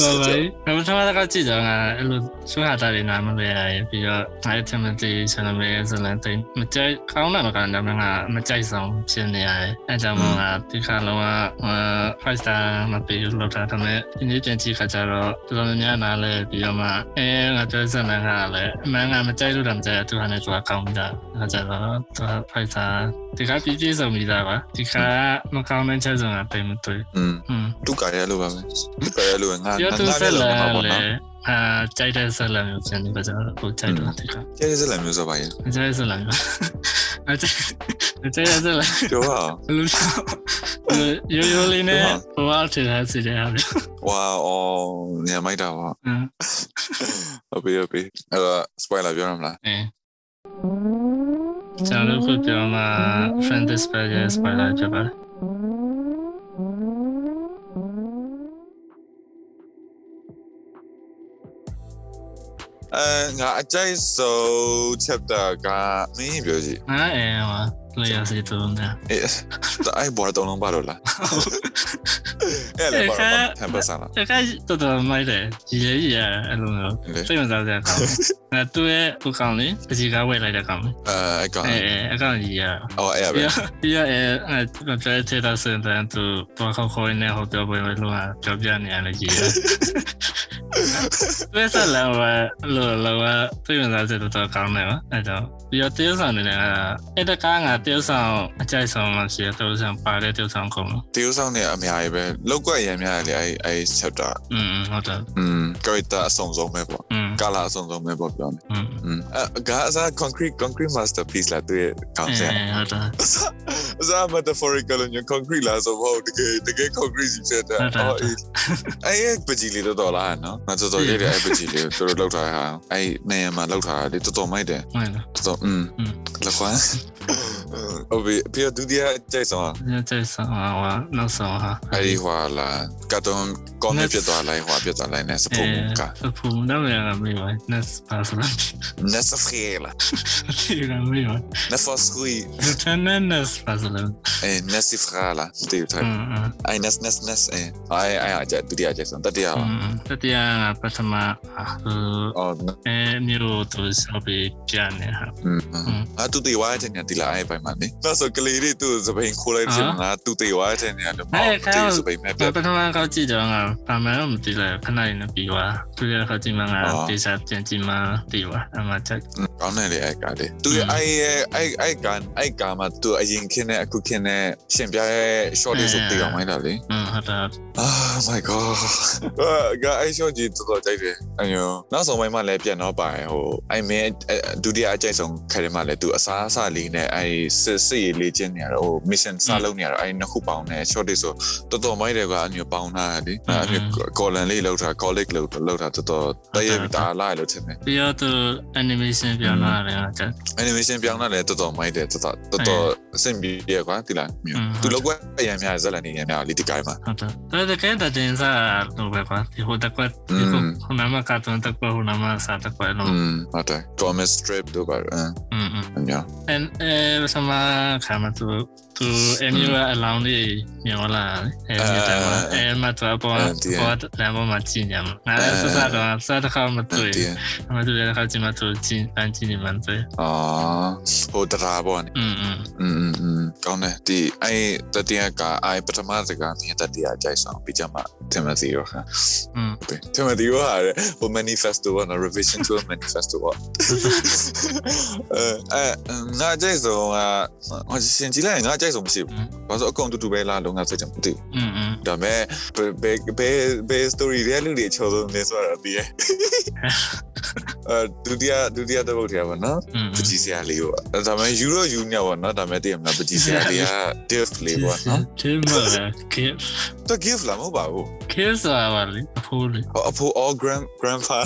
ဟုတ်ပါပြီ။နောက်ထပ်တစ်ခါကြည့်ကြအောင်ငါအဲ့လိုဆွေးဟာတာတွေနားမလဲရရင်ပြီးတော့ Night Timothy ဆန်နမဲဆန်လန်တိန်မကြိုက်ကောင်းတာမကောင်းတာမငါမကြိုက်ဆောင်ဖြစ်နေရတယ်။အဲကြောင့်မို့ငါဒီခါလုံးက5 star မပေးဘူးလို့ထားတယ်။ဒါပေမဲ့ဒီနေ့ပြန်ကြည့်ခါကျတော့တော်တော်များများနားလဲပြီးတော့မှအဲငါပြောစမ်းတာကလည်းအမှန်ငါမကြိုက်လို့တော့မကြိုက်ဘူးသူဟာနဲ့သူကကောင်းတာ။အဲကြောင့်တော့သူက5 star ဒီခါပြည့်ပြည့်စုံပြီးသားပါ။ဒီခါမကောင်းတဲ့ချက်စုံကတိတ်မတွေ့ อืม ။ဟွန်း သူကရလို့ပါပဲသူကရလို့ငါ ပြောသူဆက်လာလေ နော် အာကြိုက်တဲ့ဆက်လာမျိုးပြန်ပြီးပါကြတော့ကိုကြိုက်တော့တိက ကျေးဇူးလည်းမျိုးဆိုပါရဲ့ ကြိုက်ဆက်လာမျိုး အကျအကျရစလား ပြောပါအောင် လူရိုးရိုးလေးနဲ့ ဟုတ်ပါ ဘဝထင်တာစီတယ်ဟာလေ ဝါအော်ညမိုက်တာပါ အင်း ဟုတ်ပြီဟုတ်ပြီအဲ့တော့ Ờ, spoiler ပြောရမလား အေးကျွန်တော်တို့ခုပြောမှာ friend dispersion spoiler ဖြစ်ပါတယ် အဲငါအကြိုက်ဆုံး chapter ကမင်းပြောကြည့် ငါအဲဟောလေယာစီတုံးတယ် အေးတိုင်းဘောတော့လုံးပါတော့လားအဲ့လေဘာလို့ဟမ်ပါစားလား တခါတော်တော်မိုက်တယ်ရေကြီးရအဲ့လိုမျိုး လေ စိတ်ဝင်စားစရာကောင်းငါသူ့ရဲ့ကိုကောင်လေးပစီကားဝယ်လိုက်တဲ့ကောင် အဲအကောင် အဲအဲအကောင်ကြီးရ အော်အဲ့ရပဲ ပြပြအဲအဲ့ကျွန်တော်ထဲတာစင်တန်သူတော့ခေါခိုင်းနေဟောပြောပွဲလို့ဟာကြောပြနေရတယ်ကြီး ရသူဆက်လာဝလောလောစိတ်ဝင်စားစရာတော်ကောင်းတယ်နော်အဲ့တော့ပြတေးဆောင်နေတယ်အဲ့တကားငါတေးဆောင်အကြိုက်ဆုံးမှရှိတယ်တေးဆောင်ပါတဲ့တေးဆောင်ကုန် တေးဥဆောင်နေအများကြီးပဲလောက်ကွက်အရမ်းများတယ်လေအဲ့အဲ့ chapter อืมဟုတ်တယ် อืม character အဆုံးဆုံးပဲပေါ့ อืม ကာလာအဆုံးဆုံးပဲပေါ့ပြောမယ် อืม อืมအကာအစား Ah, concrete concrete masterpiece လာတွေ့ကော เอ င်းတယ် อဟုတ်တာ is that metaphorical in your concrete လားဆိုတော့တကယ်တကယ် concrete စီဖြစ်တာ ဟုတ်တယ် အော်အေးအဲ့ရဲ့ပကြီးလေးတော်တော်လားနော်ငါတော်တော် ဟုတ် ရဲ့ တယ် အဲ့ပ ကြီးလေးကိုတော်တော်လောက်ထားတာဟာအဲ့နေရာမှာလောက်ထားတာလေတော်တော်မိုက်တယ် ဟုတ်လား တော်တော်อืม อืม လောက်ကွာဟုတ်ပြီပြီးတော့ဒုတိယကြိုက်ဆောင် ညတဲ့ဆောင်ဟာဟောနောက်ဆောင်ဟာ အဲ့ဒီဟွာလားကတ်တုန်ကောင်းနေဖြစ်သွားလိုက်ဟွာဖြစ်သွားလိုက်နေစ เอ ပုံ อก ဖူနော်ရမေးဝိုင်းနက်စ်ပါစ လာ net vergelen တီရမေးဝိုင်း net vastgroei လူတန်းနက်စ်ပါစလာ en net si frala တေးထို အ င် င်းအင်း အဲ့ net net net အဲ့အဲ့အဲ့ဒုတိယကြိုက်ဆောင်တတိယပါ တတိယကပထမဟာဟို အော် အဲမျိုးတို့ဆောက်ပြီးပြန်နေဟာ ်ငါတူတေဝါတဲ့နေတီလာအဲ့ပိုင်းမှာလေနောက်ဆိုကလေးလေးသူ့စပိန်ခိုးလိုက်ခြင်းငါတူတေဝါတဲ့နေတော့စပိန်မဲ့ပြ ပထမကောက်ကြည့်တော့ငါဘာမှမသိလိုက်ခဏနေပြီးသွားသူရခါကြည့်မှငါတေစာပြန်ကြည့်မှတိသွားအမှချက် ကောင်းနေလေအဲ့ကလေးသူအဲ့ရဲ့အဲ့အဲ့ကန်အဲ့ကမှာသူအရင်ခင်းနဲ့အခုခင်းနဲ့ရှင်ပြရဲ့ short လေးဆိုတေအောင်မိုင်းတာလေ อืมဟုတ်တာ အာ my god ငါအဲ့ short ကြီးတော်တော်ကြိုက်တယ်အညောနောက်ဆုံးပိုင်းမှာလည်းပြန်တော့ပါတယ်ဟိုအဲ့မင်းဒုတိယအကြိုက်ဆုံးခရီးမှာလည်းသူအစားအစာလေးနဲ့အဲ့စစ်စစ်ရေးလေးချင်းနေရတော့ဟို mission စလုပ်နေရတော့အဲ့နှစ်ခုပေါင်းနေ short လေးဆို တော်တော်မိုက်တယ်ကွာအမျိုးပေါင်းထားတာလေအဲ့အမျိုးကော်လန်လေးလောက်တာ college လောက်လောက်တာတော်တော်တည့်ရပြီဒါလာလို့ထင်တယ် ပြီးတော့သူ animation ပြောင်းလာတယ်ငါချက် animation ပြောင်းလာတယ်တော်တော်မိုက်တယ်တော်တော်တော်တော်အဆင်ပြေရကွာဒီလားမျိုးသူလောက်ကရံများဇက်လန်နေရံများလေးဒီကိုင်းမှာ ဟုတ်တယ်ဒါတကယ်တဲ့တင်စားလို့ပဲကွာဒီဟိုတက်ကွက်ဒီဟိုခုနမှာကာတွန်းတက်ကွက်ဟိုနမှာစားတက်ကွက်လို့ อืมဟုတ်တယ် Thomas Strip တို့ပါအင်း อืมอืม အမျိုး and အဲဆမခါမတူသူအမျိုးအလောင်းလေးညောလာတယ်အဲဒီတမှာအဲမတော်ပေါ်ပေါ်လမ်းပေါ်မှာကြီးညမှာငါလည်းစစတော့စတဲ့ခါမ တ တွေ့ ည်း အမတူတဲ့ခါကြီးမတူကြီးအန်ကြီးနေမှန်တယ် အာဟိုတရာပေါ်နေ อืมอืม อืมอืมကောင်းတယ်ဒီအဲ့တတိယကအဲ့ပထမစကားမြင်တတိယကြိုက်ဆောင်ပြီးကြမှာ Timothy ရောခါ อืม ပဲတင်မဒီရောဟာလေဟို manifesto ကနော် revision to a manifesto ကအဲအဲငါကြိုက်ဆုံးကဟိုရှင်ကြည့်လိုက်ရင်ငါကြိုက်ဆုံးမရှိဘူးဘာလို့အကုန်တူတူပဲလားလုံးငါစိတ်ချမသိဘူး อืมอืม ဒါပေမဲ့ဘယ်ဘယ်ဘယ် story တွေလူတွေချောဆုံးနေဆိုတာအပြည့်အဲဒုတိယဒုတိယတစ်ပုဒ်ထဲပါနော် อืม ပကြီးစရာလေးပေါ့ဒါပေမဲ့ Euro Union ပေါ့နော်ဒါပေမဲ့သိရမလားပကြီးစရာလေးက diff လေးပေါ့နော် ဒီမှာကဲ သူ gift လားမဟုတ်ပါဘူး kiss ဆိုတာပါလေအဖိုးလေ ဟိုအဖိုး all grand grandpa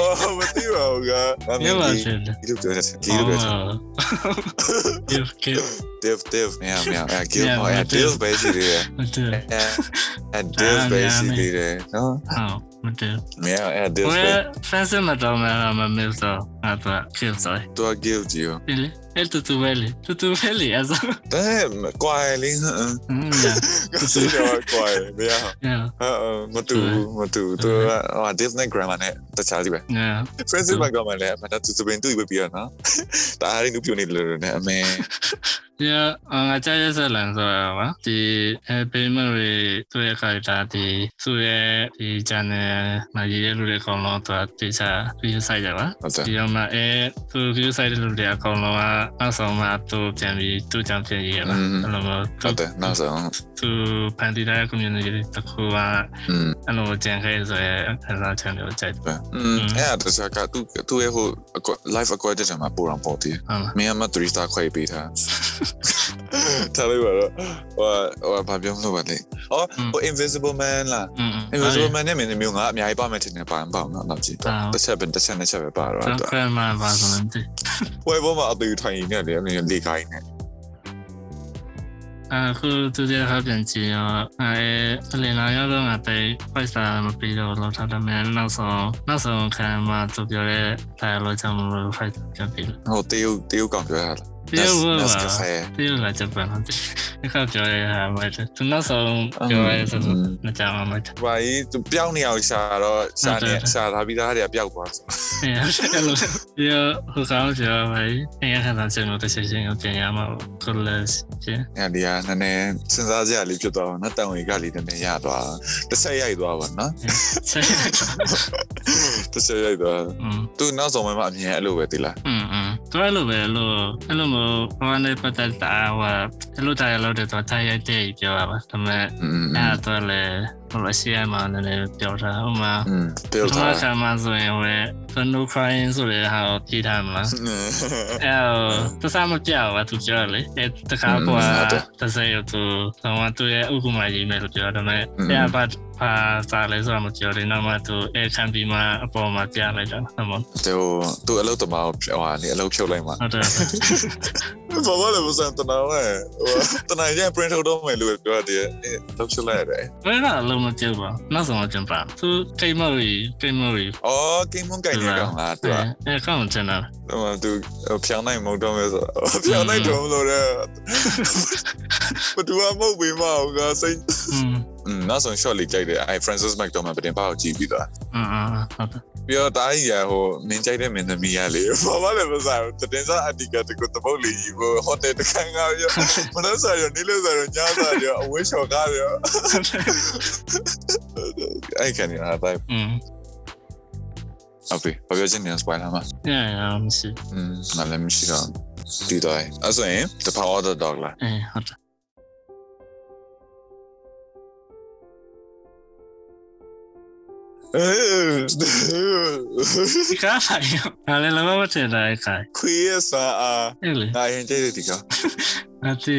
အော်မသိပါဘူးကဒါပေ ညမှာ မဲ့ ရှင်တယ် Gilပြောတယ်ဂီလိုပြော Oh. တယ် Give give Dev Dev မရမရအဲမ Gil ရ ဟောအဲ မရ Dev ပဲရှိသေး တယ် မတူ အဲအဲ Dev ပဲရှိသေးတယ်နော် ဟောမတူ မရအဲ Dev ဘ ပဲ ယ် fans မတော်မှာမမစ်တော့အတော့ kill ဆို သူက Gil ကြည့်ရော ပြလေအဲ့တူတူပဲလေတူတူပဲလေအဲ့ဆို ဒါပေမဲ့ကွာလေဟမ် ဟင်းညာ ကစီတော့ကွာလေမရ ညာ ဟာမတူဘူးမတူဘူးသူကဟို Dev နဲ့ Ah, Grandma နဲ့တခြားစီပဲ ညာ Francis ဘာကမှလည်းအမှန်တသူစပင်သူ့ပဲပြီးတော့နော်ဒါအားရင်းသူပြိုနေတယ်လို့နဲ့အမေ ညာအငါကြရစလန်ဆိုတော့ပါဒီ payment တွေသူ့ရဲ့ character ဒီသူ့ရဲ့ဒီ channel မှာရေးရလို့လေအကောင်လုံးတော့တေချာပြီးဆိုင်ကြပါ ဟုတ်တယ် ဒီတော့မှအဲသူ view site လို့တဲ့အကောင်လုံးက နောက်ဆုံးမှသူပြန်ပြီးသူကြောင့်ပြန်ရရပါ อืม အဲ့လိုမျိုးသူ ဟုတ်တယ်နောက်ဆုံး သူဖန်တီးတဲ့ community တစ်ခုက อืม အဲ့လိုကြံခဲ့ဆိုရဲခံစားချက်မျိုးကြိုက်တယ် ပဲอืมအဲ့ဒါတစ်ချက်ကသူသူရဲ့ဟို live acquired တာမှာပူရောင်ပေါ်တည် ဟုတ်လား မင်းအမ3 star ခွဲပေးတာထားလိုက်ပါတော့ဟိုဟိုဘာပြောမလို့ပါလဲအော်ဟို invisible man လား အင်းအင်း invisible man နဲ့မင်းမျိုးငါအများကြီးပါမယ်ထင်တယ်ပါမပါမလားနောက်ကြည့်တစ်ချက်ပဲတစ်ချက်နဲ့ချက်ပဲပါတော့ ကျွန်တော်ကမှပါဆိုလို့မသိ ဝေဘောမှာအသေးထိုင်နေတယ်လေလေကိုင်းနေ အခုသူတွေကပြန်ကြည့်ရောအဲအလင်လာရောက်တော့ငါတိတ်ပိုက်စာမပြီးတော့လောက်ထားတယ်မင်းနောက်ဆုံးနောက်ဆုံးခံမှသူပြောတဲ့ dialogue ကြောင့်လို့ဖိုက်ပြန်ပြီး ဟိုတေးတေးကောင်ပြောရလား ပြောလို့ န ပါ က်စကဖဲ ပြောလာချက်ပါတော့ဒီခါပြောရတာပဲသူနောက်ဆုံးပြောရဆိုတော့မကြောက်အောင်မကြောက် ဘာကြီးသူပျောက်နေအောင်ရှာတော့ရှာနေရှာထားပြီးသားတွေကပျောက်သွားဆို အဲလိုပြောဟိုကောင်ပြောပါလေအရင်ခံစားချက်မျိုးတစ်ချက်ချင်းကိုပြန်ရမှာပေါ့ကိုလက်ချင်း အဲ့ဒီကနည်းနည်းစဉ်းစားစရာလေးဖြစ်သွားတော့နော်တန်ဝေကလေးနည်းနည်းရသွားတစ်ဆက်ရိုက်သွားပါနော် ဆက် တစ်ချက်ရိုက်သွား อืม သူနောက်ဆုံးမှာအမြင်အဲ့လိုပဲတိလား อืมอืมตัวလိုပဲလို့အဲ့လိုမျိုးဘာနဲ့ပတ်သက်တာဟာအဲ့လိုတရားလို့တဲ့တော့တရားတဲ့ပြောရပါဒါပေမဲ့ อืม အဲ့ဒါတော့လေဟိုလိုရှိရမှာလည်းလည်းပြောတာဟိုမှာ อืมပြော ဘာ တာ သာမှဆိုရင်ဝဲ the no crying ဆိုတဲ့ဟာကိုပြထားမှာအဲ့တော့သစားမပြောဘူးသူပြောလေအဲ့တခါကွာတစ်စက်ရသူဆောင်းသူရဲ့ဥက္ကမကြီးမဲ့လို့ပြောဒါပေမဲ့အဲ့ဘာဘာစားလဲဆိုတော့မပြောတယ်နောက်မှသူအဲ့ခံပြီးမှအပေါ်မှာပြလိုက်တာဟုတ်မလား သူသူအလုပ်တမားကိုပြောတာလေအလုပ်ဖြုတ်လိုက်မှာ ဟုတ်တယ်ဟုတ်တယ် ဘာမှလည်းမစံတနာဝဲတနာရဲ့ print ထုတ်တော့မယ်လို့ပြောတည်းလုပ်ဖြုတ်လိုက်ရတယ် ဘယ်တော့အလုံးမပြုတ်ပါဘူးနောက်ဆုံးတော့ကျန်ပါသူကိတ်မော်ရီကိတ်မော်ရီ အော် game on ကြိုင်နေကောင်လားသူက အဲကောင်းတယ်နော် သူဖြောင်းနိုင်မဟုတ်တော့မယ်ဆိုဖြောင်းနိုင်တော့လို့ လေဘသူကမဟုတ်ပေမဟုတ်ကစိတ် อืม နောက်ဆုံး shot လေးကြိုက်တယ်အဲ Francis McDormand ပြင်ပါကိုကြည့်ပြီးသား อืมဟုတ်တယ် ပြီးတော့တားကြီးရဟိုမင်းကြိုက်တဲ့မင်းသမီးရလေဘာမှလည်းမစားဘူးတင်စားအတီကတကူတပုတ်လေးကြီးကိုဟိုတယ်တခန်းကားရော မနှစားရောနေလို့စားရောညစားရောအဝေးချော်ကားရောအဲ့ကနေအားတိုင်း อืม အဖေဘာပြောချင်နေစပိုင်းလာမှာ ညရောမရှိ อืมမလည်းမရှိတော့ဒီတိုင်းအဲ့ဆိုရင် the power of the dog လား အဲဟုတ်တယ် အဲ ဒီကားဆိုင်ဘာလဲလောမထင်တာခိုင် ခွေးစားအား အဲ့လေ ငါရင်ကြိုက်တဲ့ဒီကောင် အတိ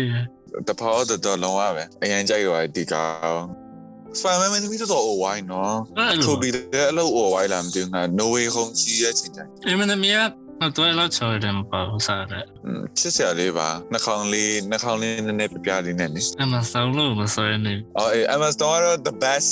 တဖောတော့တော်လုံးဝပဲအရင်ကြိုက်ရွာဒီကောင်စပိုင်မန်မင်းသမီးတော်တော်အိုဝိုင်းနော်ထိုဘီတဲ့အလုပ်အိုဝိုင်းလာမသိဘူးငါ no way home ကြီးရဲ့ချိန်တိုင်း အမနမီယာတော့လောက်ချော်တယ်မပါဘူးစားတယ် อืมချစ်စရာလေးပါနှာခေါင်းလေးနှာခေါင်းလေးနည်းနည်းပြပြလေးနဲ့နိ အမဆောင်လို့မဆွဲနေ အော်အေး MS တော်ကတော့ the best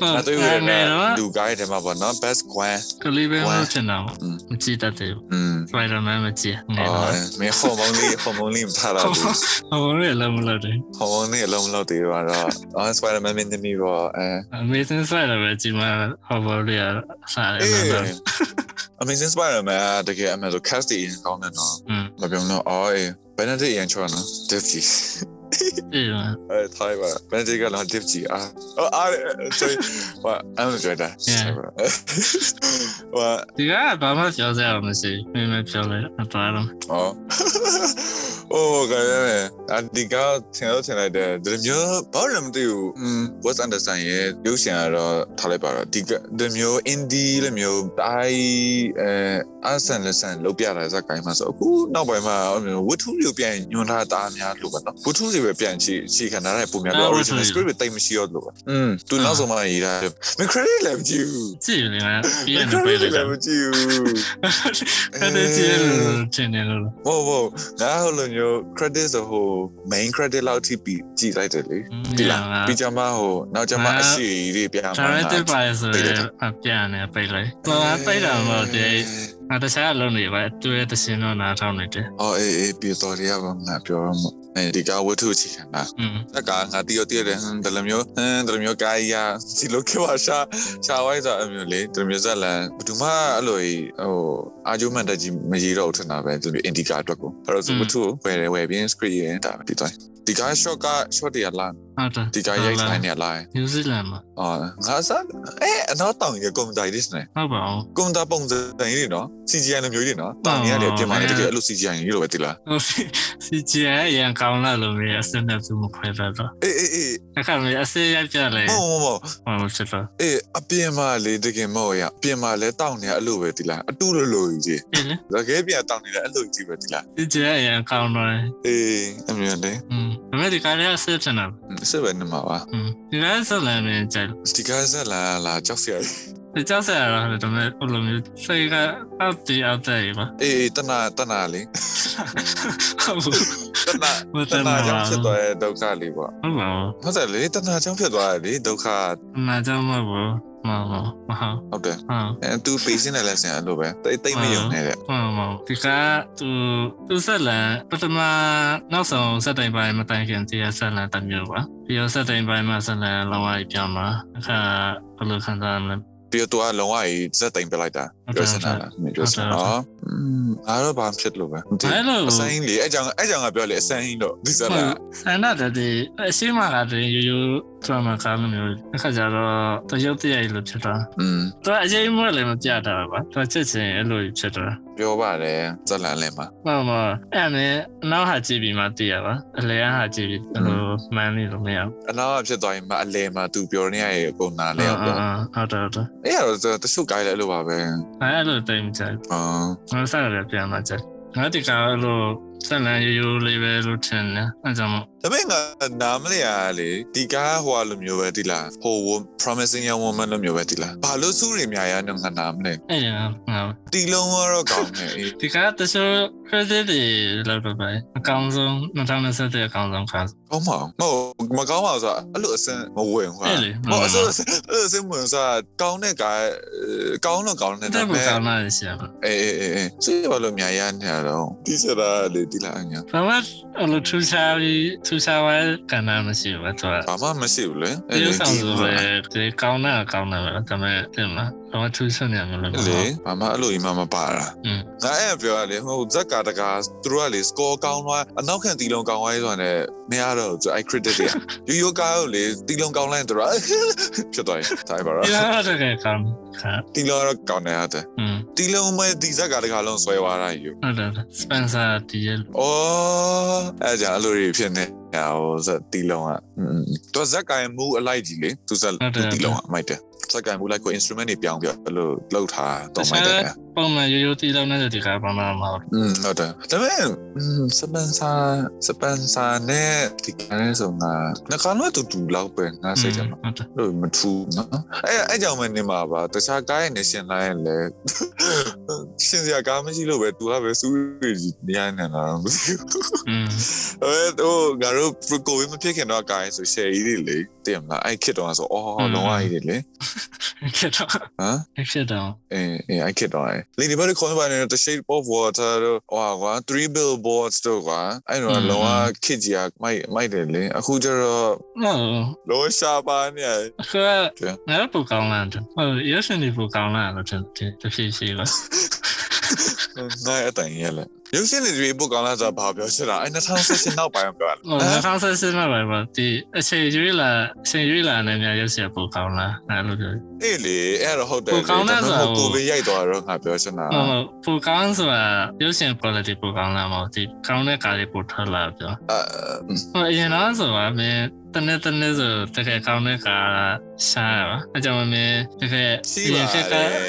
ဟုတ် အတူရ အဲ့ နေ နော် လူကိုင်းတယ်မှာပေါ့နော် best gwen ကလေးပဲမထင်တော့မကြည့်တတ်တယ် อืม စပိုင်ဒါမန်မကြည့်နေ အော် တော့ မင်းဟော်မုန်းလေးဟော်မုန်းလေးမထားတာဘူး ဟိုရလောမလို့တယ် ဟော်မုန်းလေးအလုံးမလုပ်သေးပါတော့အော် Spider-Man မင်းသမီးပေါ့အဲ Amazing Spider-Man ကြီးမှာ Hobart ရစားတယ် အေး နော် Amazing Spider-Man ကတကယ်အမှန်ဆို cast တွေအရင်ကောင်းတယ်နော် อืม မပြောတော့အော်အေးဘယ်နဲ့တည်းရန်ချောနော် div ကြီး ဒီမှာ အဲထိုင်ပါဘယ်နဲ့တည်းကလား div ကြီးအာအော်အာ ah. sorry ဘာအမ်ကြိုက်တာ ဘာ ဒီကဘာမှပြောစရာမရှိဘူးမင်းမပြောလဲအတော်တော့ အော် အိုးကလည်းအဒီကသင်တော့သင်လိုက်တယ်ဒီမျိုးဘာလို့မသိဘူး what's understand ရဲ့ရုပ်ရှင်ကတော့ထားလိုက်ပါတော့ဒီဒီမျိုး indie လိုမျိုးတိုင်းအဲအဆန်လဆန်လောက်ပြတာစကိုင်းမှာဆိုအခုနောက်ပိုင်းမှာဝတ္ထုတွေပြန်ညွန်ထားတာအများလို့ပါနော်ဝတ္ထုတွေပဲပြန်ချီချီခံထားတဲ့ပုံများတော့ original script တွေတိတ်မရှိတော့လို့ပါอืมသူနောက်ဆုံးမှရေးတာမ credit လည်းမကြည့်ဘူး ကြည့်နေလားပြ My ည်ရနေပေး credit လိုက် လ တာ ည်းမကြည့်ဘူး အဲ့ဒါကြည့်လို့တင်နေလို့ ဘောဘောငါဟိုလိုမျိုး credit ဆိုဟို main credit လောက်ထိပြီးကြည့်လိုက်တယ်လေဒီလားပြီးကြမှာဟိုနောက်ကြမှာအရှိတွေပြမှာ Directed by ဆိုအပြန်နေပေးလိုက်တော့ပိတ်တာမဟုတ်တယ်ငါတခြားအလုပ်တွေပဲတွေ့တဲ့သင်းတော့နားထောင်နေတယ် အော်အေးအေးပြတော်ရရပါမလားပြောရမအဲဒီကဝတ္ထုချီခံတာ อืม တက်ကငါတီရတီရတယ်ဟမ်ဒါလိုမျိုးဟမ်ဒါလိုမျိုးကာယစီလိုကေပါရှာရှာဝိုင်းဆိုအမျိုးလေဒါလိုမျိုးဇက်လန်ဘယ်သူမှအဲ့လိုကြီးဟိုအာဂျူမန်တက်ကြီးမရေးတော့ထင်တာပဲဒါလိုမျိုးအင်ဒီကာအတွက်ကိုအဲ့တော့ဝတ္ထုကိုဝယ်တယ်ဝယ်ပြီး script ရေးတာဒီတိုင်းဒီက short က short တရလာ ဟုတ်တယ် ဒီကရိုက်ထိုင်နေရလား နယူးဇီလန်မှာ အော်ငါစားအဲအနောက်တောင်ကြီးကွန်ပျူတာကြီးနဲ့ ဟုတ်ပါအောင် ကွန်ပျူတာပုံစံကြီးနော် CGI လိုမျိုးကြီးနော်တောင်ကြီးရတယ်ပြင်ပါလေတကယ်အဲ့လို CGI ကြီးလိုပဲတိလား ဟုတ်စီစီချီအရန်ကောင်းလာလို့မြေအစနဲ့သူမခွဲပါတော့ အေးအေးအေး အခါမြေအစေးရပြလေ မဟုတ်မဟုတ်မဟုဟောတ်ဖြစ်တော့ အေးအပြင်မှာလေတကယ်မဟုတ်ရပြင်ပါလေတောင်နေရအဲ့လိုပဲတိလားအတူလိုလိုကြီး ပြလေ တကယ်ပြင်တောင်နေရအဲ့လိုကြီးပဲတိလား စီချီအရန်ကောင်းတော့ အေးအမြန်လေ อืมအမေဒီကရဲအစေးဖြစ်နေပါ စစ်ပဲနေမှာပါ อืมဒီလဲဆိုလည်းမြေကြိုက် ဒီကစားလာလာကြောက်စရာ တယ်ကြောက်စရာတော့ဒါပေမဲ့ဘလိုမျိုးစိတ်ကအပ်တီအပ်တယ်ပါ အေးတနာတနာလေ ဟုတ် တနာ မတ တ နာဟုနာကြောတ်င့်ဖြစ်သွားတဲ့ဒုက္ခလေးပေါ့ ပါဘူး ဟုတ်တယ်လေတနာကြောင့်ဖြစ်သွားတယ်လေဒုက္ခ နာကြောင့်မဟုတ်ဘူးမဟုတ်မဟုတ် ဟုတ်တယ် ဟုတ် အဲ तू ပေးစင်းတယ်လဲဆင်အဲ့လိုပဲတိတ်တိတ်မယုံနဲ့တဲ့ မှန်ပါဘူးဒီကသူသူဆက်လန်ပထမနောက်ဆုံးစက်တိုင်ပိုင်းမတိုင်ခင်တရားဆက်လန်တစ်မျိုးပါပြီးတော့စက်တိုင်ပိုင်းမှာဆက်လန်လောင်းဝိုင်းပြောင်းပါအခါဘယ်လိုခံစားရမလဲ ပြီးတော့ तू ကလုံးဝကြီးဇက်တိမ်ပြလိုက်တာ ဟုတ်တယ် ပြောစင်တာလားမင်းပြောစင်တာ ဟုတ်တယ် ဟောอืมအားတော့ဘာဖြစ်လို့ပဲဒီ အဲ့လို အဆိုင်လေအဲ့ကြောင့်အဲ့ကြောင့်ကပြောလေအဆိုင်တော့ဒီစလာ ဆန္ဒတဲ့ဒီအရှိမလာတဲ့ရိုးရိုးထရမကားလိုမျိုးအခါကျတော့တရုတ်တရိုက်လိုဖြစ်တာ อืม သူအရေးမွေးလည်းမပြတာပါသူချက်ချင်းအဲ့လိုဖြစ်တာ ပြောပါတယ်ဇက်လာလဲမှာ မှန်ပါအဲ့နဲ့နောက်ဟာကြည့်ပြီးမှသိရပါအလဲဟာကြည့်ပြီးဘယ်လိုမှန်းလို့မရဘူး အနာကဖြစ်သွားရင်မအလဲမှာ तू ပြောနေရရဲ့ပုံနာလဲတော့ ဟုတ်တယ်ဟုတ်တယ် အဲ့ရတော့တချို့ကိုင်းလဲအဲ့လိုပါပဲ အဲ့လိုတိတ်မကြိုက် အာ ဘူးငါစားရတယ်ပြန်လာကြိုက်ငါဒီကအဲ့လိုစက်လန်ရိုးရိုးလေးပဲလို့ထင်တယ်အဲ့ကြောင့်မို့ ဒါပေမဲ့ငါနာမလဲရလေဒီကားဟွာလိုမျိုးပဲတိလားဟို promising young woman လိုမျိုးပဲတိလားဘာလို့စူးရများရတော့ငါနာမလဲ အဲ့ဒီကငါ တီလုံးကတော့ကောင်းတယ်အေး ဒီကတချို့ credit တွေလောက်တော့ပဲအကောင်းဆုံး2021အကောင်းဆုံးခါ ကောင်းပါအောင်မဟုတ်မကောင်းပါဘူးဆိုတာအဲ့လိုအစင်မဝင်ခွာ အဲ့လေ မဟုတ်အစင်အဲ့လိုအစင်ဝင်ဆိုတာကောင်းတဲ့ကားကောင်းတော့ကောင်းတယ် တက် ဒါဖို့ပေမဲ့ ကောင်းလာရရှာပါ အေးအေးအေးအေးစိတ်ဘာလို့များရနေရတော့တိစရာလေတိလားအညာ ဘာမှအဲ့လိုထူးခြားပြီးထူးခြားဝဲကဏ္ဍမရှိဘူးသူက ဘာမှမရှိဘူးလေ ဒီဥစ္စာဆိုပဲဒီကောင်းတာကောင်းတာပဲဒါပေမဲ့တင်မှာဘာမှထူးခြားနေမှာလို့ လေဘာမှအဲ့လိုအိမ်မမပါတာ อืม ငါအဲ့ပြောရလေဟိုဇက်ကတကာသူတို့ကလေ score ကောင်းသွားအနောက်ခံတီလုံးကောင်းသွားရေးဆိုတာနဲ့မရတော့ဘူး I credit တွေ ရိုးရိုးကားကိုလေတီလုံးကောင်းလိုက်သူ တို့ဖြစ်သွားရင်တိုင်းပါတော့ ဒီတော့တကယ်ကောင်းခါ တီလုံးတော့ကောင်းတယ်ဟုတ်တယ် อืม တီလုံးမဲ့ဒီဇက်ကတကာလုံးဆွဲသွားတာယူ ဟုတ်တယ်စပန်ဆာဒီရဲ့ อ๋อအဲ့ဒါကြောင့်အဲ့လိုတွေဖြစ်နေဟိုဇက်တီလုံးอ่ะသူဇက်ကင်မူအလိုက်ကြီးလေသူဇက် ဟုတ်တယ် တီလုံးอ่ะမိုက်တယ်ဇက်ကင်မူလိုက်ကို instrument တွေပြောင်းပြအဲ့လိုလှုပ်ထားတော့မိုက်တယ်အ ပုံမှန်ရိုးရိုးတီးလောက်နေတဲ့ဒီကဘာမှမဟုတ် င်းဟုတ်တယ်ဒါပေမဲ့စပန်ဆာစပန်ဆာနဲ့ဒီကနေ့ဆိုငါငါကတော့တူတူလောက်ပဲငါစိတ်ထဲမှာ ဟုတ်တယ် လို့မထူးနော်အဲ့အဲ့ကြောင့်မနေမှာပါတခြားကားရဲ့ nation line လဲ ရှင်စရာကားမရှိလို့ပဲသူကပဲစူးရီကြီးနေရနေတာတော့မသိဘူး อืม အဲတော့ငါတို့ပရကိုဝေးမဖြစ်ခင်တော့ကာရင်ဆိုရှယ်ကြီးတွေလေတည်မလားအဲ့ခစ်တော့ဆိုအော်လုံးဝကြီးတွေလေ ဖြစ်တော့ ဟမ် ဖြစ်တော့ အဲအဲအဲ့ခစ်တော့လေဒီဘက်ခေါင်းပိုင်းနဲ့ the shape of water တို့ဟွာကွာ3 billboards တို့ကွာအဲ့တော့လုံးဝခစ်ကြီးကမိုက်မိုက်တယ်လေအခုကျတော့ နော် လောရှာပါနေ အခုငါတို့ပူကောင်းလာတယ်ဟိုရရှင်ဒီပူကောင်းလာလို့တင်တဖြည်းဖြည်းပါ နိုင်အတိုင်းရလေရုပ်ရှင်တွေဒီပုတ်ကောင်းလားဆိုတာဘာပြောချင်တာအဲ့2018နောက်ပိုင်းပြော ဟိုငါဆောင်ဆက်စစ်မှာပါပါဒီအချိန်ရွေးလာအချိန်ရွေးလာနေများရရှင်ပူကောင်းလာအဲ့လိုပြော အေးလေအဲ့တော့ဟုတ်တယ်ကိုဗစ်ရိုက်သွားတော့ငါပြောချင်တာ ဟိုပူကောင်းဆိုတာရရှင် quality ပူကောင်းလာမဟုတ်ဒီကောင်းတဲ့ကားလေးပူထွက်လာပြောဟိုအရင်တော့ဆိုတာမင်းတနေ့တနေ့ဆိုတကယ်ကောင်းတဲ့ကားရှားပါအကြောင်းမင်းတကယ် ရှိပါ ဖြ တယ် စ်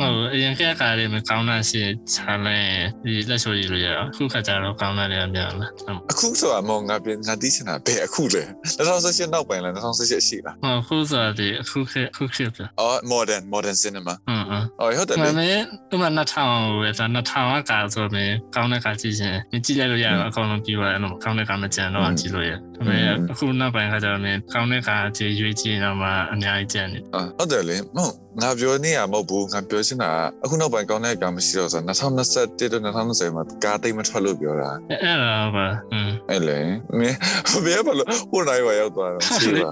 ကဟုတ်အရင်ကကားလေးမကောင်းတာရှိချာလဲဒီလက်ချိုကြီးလိုရအောင်အခုခါကျတော့ကောင်းတာတွေအများလားဟုတ် အခုဆိုတာမဟုတ်ငါပြင်ငါတီးချင်တာဘယ်အခုလဲ2018နောက်ပိုင်းလား2018ရှိလား ဟုတ်ခုဆိုတာဒီအခုခေတ်အခုခေတ်ပြ အော် modern modern ဟုတ cinema ်ဟုတ် အော်ဟုတ်တယ် မ လေ မေဥမာ2000ပဲဒါ2000ကကာဆိုမင်းကောင်းတဲ့ကာကြည့်ရှင်မကြည့်လိုက်လို့ရတော့အကောင်လုံးပြီးသွားတယ်နော်ကောင်းတဲ့ကာမကြံတော့ကြည့်လို့ရဒါပေမဲ့အခုနောက်ပိုင်းခါကျတော့မင်းကောင်းတဲ့ကာကြည့်ရွေးကြည့်တော့မှအများကြီးကြံနေ အော်ဟုတ်တယ်လေမဟုတ်ငါပြောနေရမဟုတ်ဘူးငါပြောချင်တာကအခုနောက်ပိုင်းကောင်းတဲ့ကံမရှိတော့ဆို2021တော့2020မှာကားတိတ်မထွက်လို့ပြောတာ အဲ့ဒါပါအင်း အဲ့လေမင်း ဘယ်ဘာလို့ဟိုနိုင်ပါရောက်သွားတော့ရှိပါ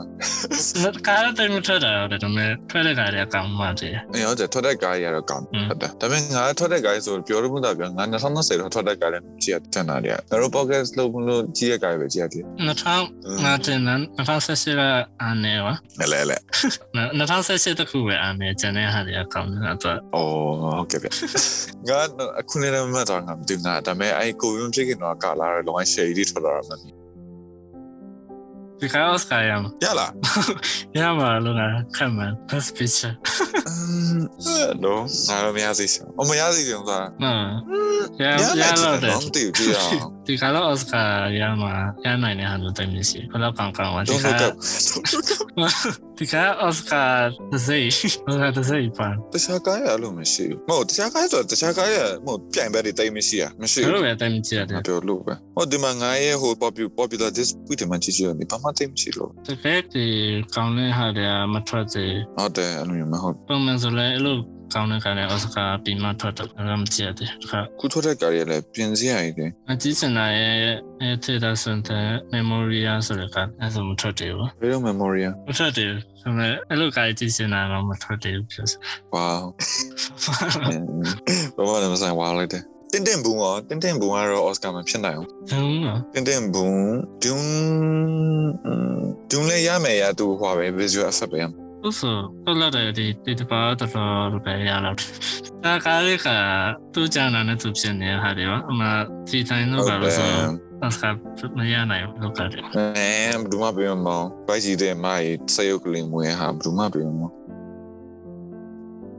ကာတိုင်းမထွက်တာတော့ဒါပေမဲ့ထွက်တဲ့ကာတွေကကောင်းမှတည်း အေးဟုတ်တယ်ထွက် တဲ့ကားကြီးကတော့ကောင်း อืม ဟုတ်တယ်ဒါပေမဲ့ငါထွက်တဲ့ကားကြီးဆိုပြောလို့မသာပြောငါ2020တော့ထွက်တဲ့ကားလည်းကြည့်ရတန်တာတွေကငါတို့ pocket လို့မလို့ကြည့်ရကားပဲကြည့်ရတယ် 2000နာတင်နန်း2018ကအနည်းပါ လဲလဲလဲ 2018တခုပဲအနည်းကျန်တဲ့ဟာတွေအကောင်းဆုံးတော့ ဩဟုတ်ကဲ့ဗျငါအခုနေလည်းမမှတ်တော့ငါမသိဘူးငါဒါပေမဲ့အဲ့ကိုရုံးဖြစ်ခင်တော့ကာလာတော့လောက share ကြီးထွက်လာတာမှန် ဒီကားအော်စကာရမ ရလား ရမှာလို့ငါခံမှန်း best picture တော့ငါတို့မရသေးရှာအမရသေးတယ်ဆိုတာ နော်ရရ လိုက် တော့တယ် မသိဘူးကြည့်ရအောင် ဒီကတော့အော်စကာရမှာရနိုင်တဲ့ဟာလို့တိုင်းမရှိဘူးဘယ်တော့ကောင်းကောင်းပါဒီ တော့ ကကတော့ကပ် ဒီကအော်စကာတစ်စိတ်ဘာသာတစ်စိတ်ပါ တခြားကားရလို့မရှိဘူးမဟုတ်တခြားကားဆိုတခြားကားရမဟုတ်ပြိုင်ဘက်တွေတိတ်မရှိရမရှိ ဘယ် ဘူး လိုပဲတိုင်းမရှိရတ ငါ ယ် ပြောလို့ပဲဟိုဒီမှာငါရဲ့ဟို popular popular dispute မှာကြည့်ကြည့်ရမယ်ဘာမှတိတ်မရှိလို့ တကယ်ဒီကောင်းတဲ့ဟာတွေကမထွက်သေးဘူး ဟုတ်တယ်အဲ့လိုမျိုးမဟုတ် ပုံမှန်ဆိုလည်းအဲ့လိုကောင်းတဲ့ကံနဲ့အော်စကာပြီးမှထွက်တော့လည်းမကြည့်ရတဲ့ခါ ခုထွက်တဲ့ကားရလည်းပြင်စရာကြီးတယ် အကြည့်စင်တာရဲ့အဲထေတာစန်တဲ့ memoria ဆိုတဲ့ကအဲ့ဒါမထွက်သေးဘူး ဘယ်လို memory မထွက်သေးဘူးဆိုတော့အဲ့လိုကကြည့်စင်တာတော့မထွက်သေးဘူးပြောစ wow ဘာမှလည်းမဆိုင်ဝါလိုက်တယ်တင်တင်ဘူးရောတင်တင်ဘူးကတော့ Oscar မှာဖြစ်နိုင်အောင် ဘယ်လို တင်တင်ဘုံဒွန်းဒွန်းလည်းရမယ်ရသူဟွာပဲ visual effect ပဲ ဥစ္စာတော့လာတယ်ဒီဒီတစ်ပါတော်တော်ပဲရ လောက်တယ်။ဒါကားလေးကသူ့ကြံတာနဲ့သူဖြစ်နေတဲ့ဟာတွေပါ။အမှဒီတိုင်းတော့ပါလို့ဆိုတော့အစကမရနိုင်ဘူးလို့ကတည်းက နဲဘဒူမပြေမမောင်ဘိုက်ကြီးတဲ့မိုင်စယုတ်ကလေးမွေးဟာဘဒူမပြေမမောင်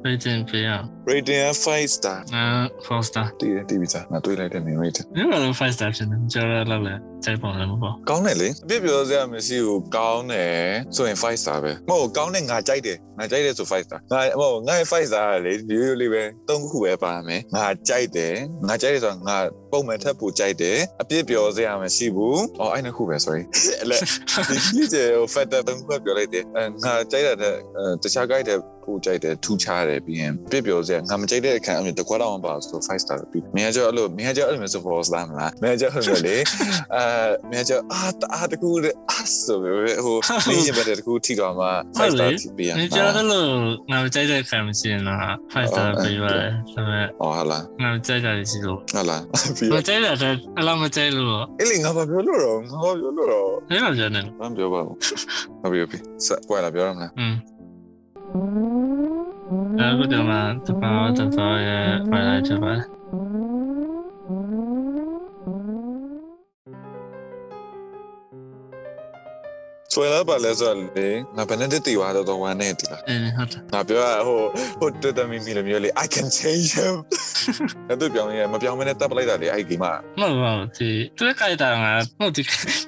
ပြည်တင်ပြရအောင် rating 5 star အာ four star တည်တယ်တည်ပြီသားငါတွေးလိုက်တဲ့ main rating ဘယ်လိုလဲ five star ဖြစ်နေကြော်ရလောက်လဲစိတ်ပုံလည်းမပေါ့ ကောင်းတယ်လေအပြစ်ပြောစရာမရှိဘူးကောင်းတယ်ဆိုရင်5 star ပဲမဟုတ်ကောင်းတယ်ငါကြိုက်တယ်ငါကြိုက်တယ်ဆို5 star ငါမဟုတ်ငါရဲ့5 star ကလေရိုးရိုးလေးပဲသုံးခုပဲပါမယ်ငါကြိုက်တယ်ငါကြိုက်တယ်ဆိုတော့ငါပုံမှန်ထက်ပိုကြိုက်တယ်အပြစ်ပြောစရာမရှိဘူးအော်အဲ့နှစ်ခုပဲ sorry အဲ့လေ ဒီကြီးကျယ်ကိုဖတ်တဲ့ဘုံကပြောလိုက်တယ်အဲငါကြိုက်တာတဲ့အဲတခြားကြိုက်တဲ့ပူကြိုက်တယ်ထူချတယ်ပြီးရင်ပြစ်ပြောစရာငါမကြိုက်တဲ့အခါအမြင်တကွာတော့မပါဘူးဆို5 star ပြီးမင်းကကြောက်အဲ့လိုမင်းကကြောက်အဲ့လိုမျိုးဆို four star မလားမင်းကကြောက်ဟိုလိုလေအဲမင်းကကြောက်အာတအားတကူတဲ့အာဆိုပြီးဟိုမင်းရင်ပဲတကူထိတော့မှ5 star ထိပြီးရ ။ဒီကြော်ရလို့ငါကြိုက်တဲ့ခံမရှိရင်တော့ five star ပြရတယ်။ဒါပေမဲ့ အော်ဟာလား ငါကြိုက်တာရှိလို့ ဟာလားပြီး မကြိုက်တာတဲ့အလောက်မကြိုက်လို့ အဲ့လေငါဘာပြောလို့တော့ငါဘာပြောလို့တော့ အဲ့လိုကြတယ် ဘာမှပြောပါဘူးဟောပြီးပြီစပွာလာပြောရမလား ။ 那不就嘛，这把这把也买来这把。 ဆွဲလာပါလဲဆိုတော့လေငါဘယ်နဲ့တည်တည်သွားတော့တော့ဝမ်းနေတည်လား 嗯，好的。 ငါပြောတာဟိုဟိုတက်တမီမီလိုမျိုးလေ I can change him အဲ့တော့ပြောင်းရမပြောင်းမနဲ့တက်ပလိုက်တာလေအဲ့ဒီမှာ 那我这这个阶段啊，我这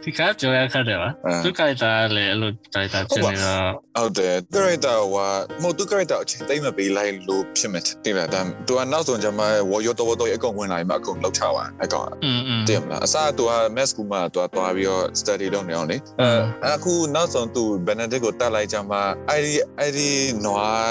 这个主要看的吧。这个阶段嘞，路阶段就是那个， ဟုတ်တယ် character ကမဟုတ်သူ character အချိန်တိတ်မပေးလိုက်လို့ဖြစ်မယ်တိလားဒါသူကနောက်ဆုံးကျမ warrior တော်တော်ရဲ့အကောင်ဝင်လာရင်မအကောင်လောက်ချပါအကောင် 嗯嗯， တည်မလားအစားသူက mass ကူမှာသူကတွားပြီးတော့ study လုပ်နေအောင်လေ 嗯， အခုနောက်ဆုံးသူ benedict ကိုတတ်လိုက်ကြမှာအဲ့ဒီအဲ့ဒီနွား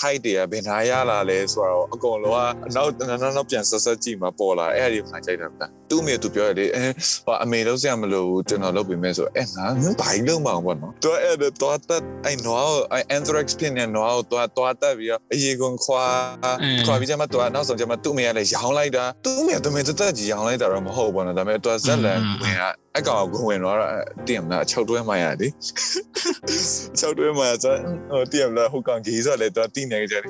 height တွေကဘယ်နာရလာလဲဆိုတော့အကုန်လုံးကနောက်နောက်နောက်ပြန်ဆက်ဆက်ကြည့်မှာပေါ်လာအဲ့ဒီမှာကြိုက်တာဗျသူ့အမေသူပြောတယ်လေအဲဟိုအမေလုံးစရာမလိုဘူးကျွန်တော်လုပ်ပေးမယ်ဆိုအဲ့ငါမင်းဘာကြီးလုံးမအောင်ပေါ့နော်သူကအဲ့တော့တတ်အဲ့နွားကိုအဲ့ anthrax ဖြစ်နေနွားကိုသူကတွားတတ်ပြီးတော့အရေကုန်ခွာခွာပြီးကြမှာသူကနောက်ဆုံးကြမှာသူ့အမေကလည်းရောင်းလိုက်တာသူ့အမေကတမင်တက်တက်ကြီးရောင်းလိုက်တာတော့မဟုတ်ဘူးပေါ့နော်ဒါပေမဲ့သူကဇက်လန်ဝင်ကအကောင်ကိုဝင်တော့တင်မလားအချုပ်တွဲမှရလေ ချောက်တွဲမှာဆိုဟိုတည်ရမလားဟိုကောင်ကြီးဆိုလည်းတော့တိနေကြတယ်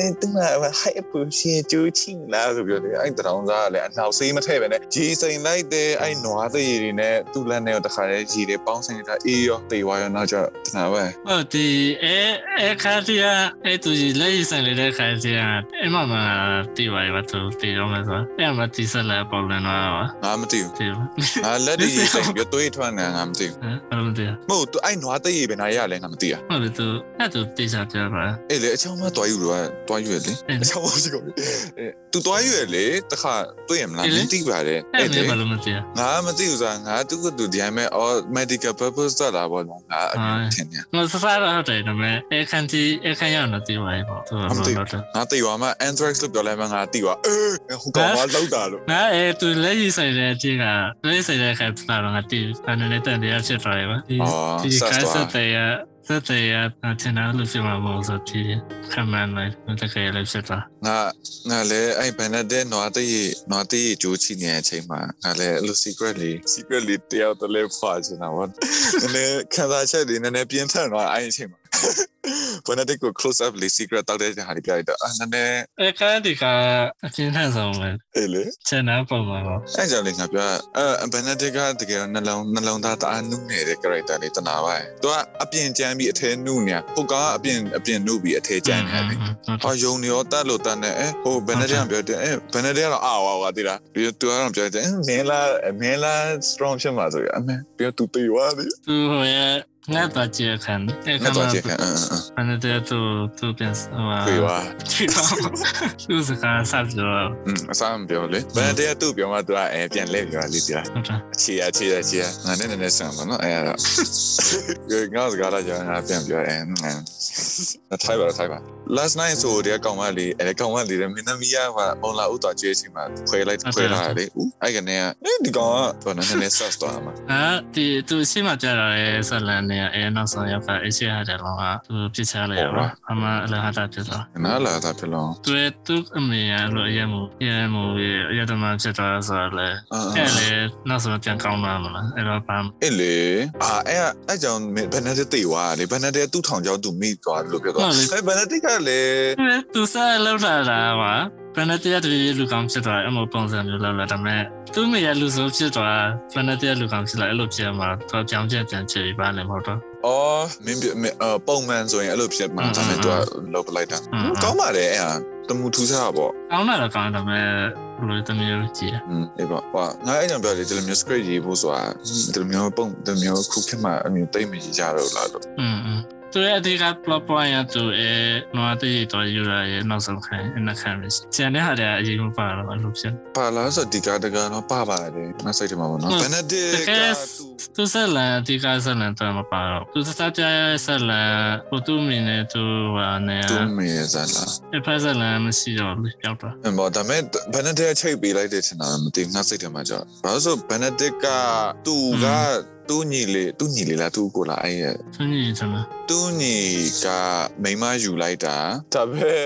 အဲသူကဟိုက်အပူရှင်ကျူးချင်းလားဆိုပြောတယ်အဲ့တရောင်းစားကလည်းအနောက်ဆေးမထည့်ပဲနဲ့ရေစိန်လိုက်တယ်အဲ့နွားသေးတွေနဲ့သူ့လက်နဲ့တခါတည်းရေတွေပေါင်းစင်နေတာအေးရောတေဝါရောနောက်ကျတနာပဲ 我的哎哎，看的啊，哎，就是类似的来看的啊，哎妈妈，对吧？我都对我们说，哎妈，第三来保人了， ငါမသိဘူး 对吧？ ငါလက်တွေရေစိန်ပြီးတွေးထွန်းနေငါမသိဘူး 嗯，我们对啊， မဟုတ်သူအဲ့နွားသေးရေဘယ်နာရလဲငါမသိဘူး 我们都那都对上这吧， အေးလေအချောင်းမတွားယူလို့တွားယူရလေအချောင်းမရှိကုန်သူတွားယူရလေတခါတွေ့ရမလားမသိပါနဲ့ 哎，没把我们对啊， ငါမသိဘူးဆိုတာငါသူကသူဒီတိုင်းမဲ့ all medical purpose တော့လာပေါ့နော်ငါအမြင်ထင်တယ် 我是啥了？对的没？哎，看的哎，看样的对吧？对吧？对吧？ ငါတိသွားမှ anthrax လို့ပြောလိုက်မှငါတိသွားအေးဟိုကောင်ကလောက်တာလို့ နာအဲသူလက်ရည်ဆိုင်တဲ့အချင်းကလက်ရည်ဆိုင်တဲ့ခါပြတာတော့ငါတည်အနေနဲ့တန်တရားဖြစ်သွားတယ်ပါဒီဒီကစားတဲ့ သက်သေရအထင်အားလို့ဖြစ်မှာမဟုတ်ဆိုဒီခံမှန်းလိုက်မတကယ်လည်းဖြစ်တာ ငါငါလည်းအဲ့ဘန်နက်တဲ့နွားတေးနွားတေးကြိုးချီနေတဲ့အချိန်မှာငါလည်းအဲ့လို secret လေး secret လေးတယောက်တည်းလဲဖွာချင်တာဗောနည်းနည်းခံစားချက်တွေနည်းနည်းပြင်းထန်သွားအဲ့ဒီအချိန်မှာ ဘန်နက်တဲ့ကို close up လေး secret တောက်တဲ့ဟာတွေပြလိုက်တော့အဲ့နည်းနည်း အဲကဒီကအချင်းထန်ဆုံးပဲ အဲ့လေ ခြေနာပုံမှာပေါ့ အဲ့ကြောင့်လေငါပြောအဲ့ဘန်နက်တဲ့ကတကယ်တော့နှလုံးနှလုံးသားတအားနုနေတဲ့ character လေးတနာပါရဲ့သူကအပြင်ကျမ်းပြီးအထဲနုနေတာဟိုကောင်ကအပြင်အပြင်နုပြီးအထဲကျမ်းနေတာလေ အော်ယုံနေရောတတ်လို့တတ်နေအဲဟိုဘယ်နဲ့တည်းကပြောတယ်အဲဘယ်နဲ့တည်းကတော့အာဝါဝါတိလားပြီးတော့သူကတော့ပြောတယ်အင်းမင်းလားအမင်းလား strong ဖြစ်မှာဆိုရအမေပြီးတော့သူတေးဝါသည် သူရဲ့ငါတော့ကြည့်ခံအဲ့ ငါတော့ကြည့်ခံအင်းအင်း ဘယ်နဲ့တည်းသူသူပြန်ဟာ ပြေးဝါ ပြေပါသူစကားဆက်ပြော အင်းအဆမ်းပြောလေဘယ်နဲ့တည်းကသူ့ပြောမှသူကအဲပြန်လဲပြောလေးတိလား ဟုတ်တယ် အခြေရအခြေရအခြေရငါနဲ့နည်းနည်းဆန်ပါနော်အဲရတော့ငါစကားလာကြငါပြန်ပြောအဲငါထိုင်ပါထိုင်ပါ last night ဆိုတဲ့ကောင်မလေးအဲကောင်မလေးတဲ့မင်းသမီးကအွန်လာဥတော်ကျွေးချိန်မှာခွဲလိုက်ခွဲလာလေဦးအဲ့ကနေကအဲဒီကောင်ကဘာနည်းနည်း search သွားမှာ အာဒီသူရှိမှကြာလာတဲ့ဆက်လန်နဲ့အဲနောက်ဆုံးရောက်ပါအရှိရတဲ့လောကသူပြစ်ချလိုက်ရပါအမအလဟာတာပြစ်သွား နားလာတာပြလော သူသူအမေရလို့ရမရမရတမဖြစ်သွားဆိုလဲအဲ့လေနောက်ဆုံးပြန်ကောင်းလာမလားအဲ့တော့ဘာ အဲ့လေအာအဲ့အဲ့ကြောင့်ဘယ်နဲ့တေးွားလေဘယ်နဲ့တူထောင်ကြောင့်သူမိသွားလို့ပြောသွားအဲ့ဘယ်နဲ့တိကလည်း သူစားလောက်လာတာပါပနတရတူရဲ့လူကောင်ဖြစ်သွားတယ်အမပုံစံမျိုးလောက်လာဒါပေမဲ့သူ့မရဲ့လူဆိုဖြစ်သွားပနတရလူကောင်ဖြစ်လာအဲ့လိုဖြစ်မှာသူပြောင်းပြန်ပြန်ချေပြီးပါလဲမဟုတ်တော့ အော်မင်းပြမင်းအပုံမှန်ဆိုရင်အဲ့လိုဖြစ်မှာဒါပေမဲ့သူကလောက်ပလိုက်တာ အင်း ကောင်းပါတယ်အဲ့ဟာတမူထူးဆားပါ ကောင်းလာတော့ကောင်းတယ်ဒါပေမဲ့ဘယ်လိုတမျိုးကြည့် อืมအေးပါဟာငါအဲ့ကြောင့်ပြောတယ်ဒီလိုမျိုး script ရေးဖို့ဆိုတာဒီလိုမျိုးပုံဒီလိုမျိုးခုခေတ်မှာအမျိုးတိတ်မရေးကြတော့လားလို့ อืมอืมသူရဲ့အဓိက plot point ကသူအဲနွားတရတော်ယူလာရဲ့နောက်ဆုံးခံအနောက်ခံပဲကျန်တဲ့ဟာတွေကအရင်ကပါတော့အလိုဖြစ် ပါလားဆိုတော့ဒီကတကတော့ပါပါတယ်ငါစိတ်ထဲမှာပေါ့နော် ဟုတ် Benedict တက က ယ် သူ သူဆက်လန်အဓိကဆက်လန်တော့မပါတော့သူစစားကြရဲ့ဆက်လန်ဟိုသူ့အမင်းနဲ့သူဟာနဲ့ သူမေးစားလား အဖက်ဆက်လန်မရှိတော့ဘူးပြောက်တော့ အင်းပေါ့ဒါပေမဲ့ Benedict ကချိတ်ပေးလိုက်တဲ့ထင်တာမသိဘူးငါစိတ်ထဲမှာကြောက်ဘာလို့လဲဆိုတော့ Benedict ကသူက อื သူ့ညီလေးသူ့ညီလေးလားသူ့ကိုလားအဲ့ရဲ့ သူညီတယ်မလား သူညီကမိန်းမယူလိုက်တာဒါပေမဲ့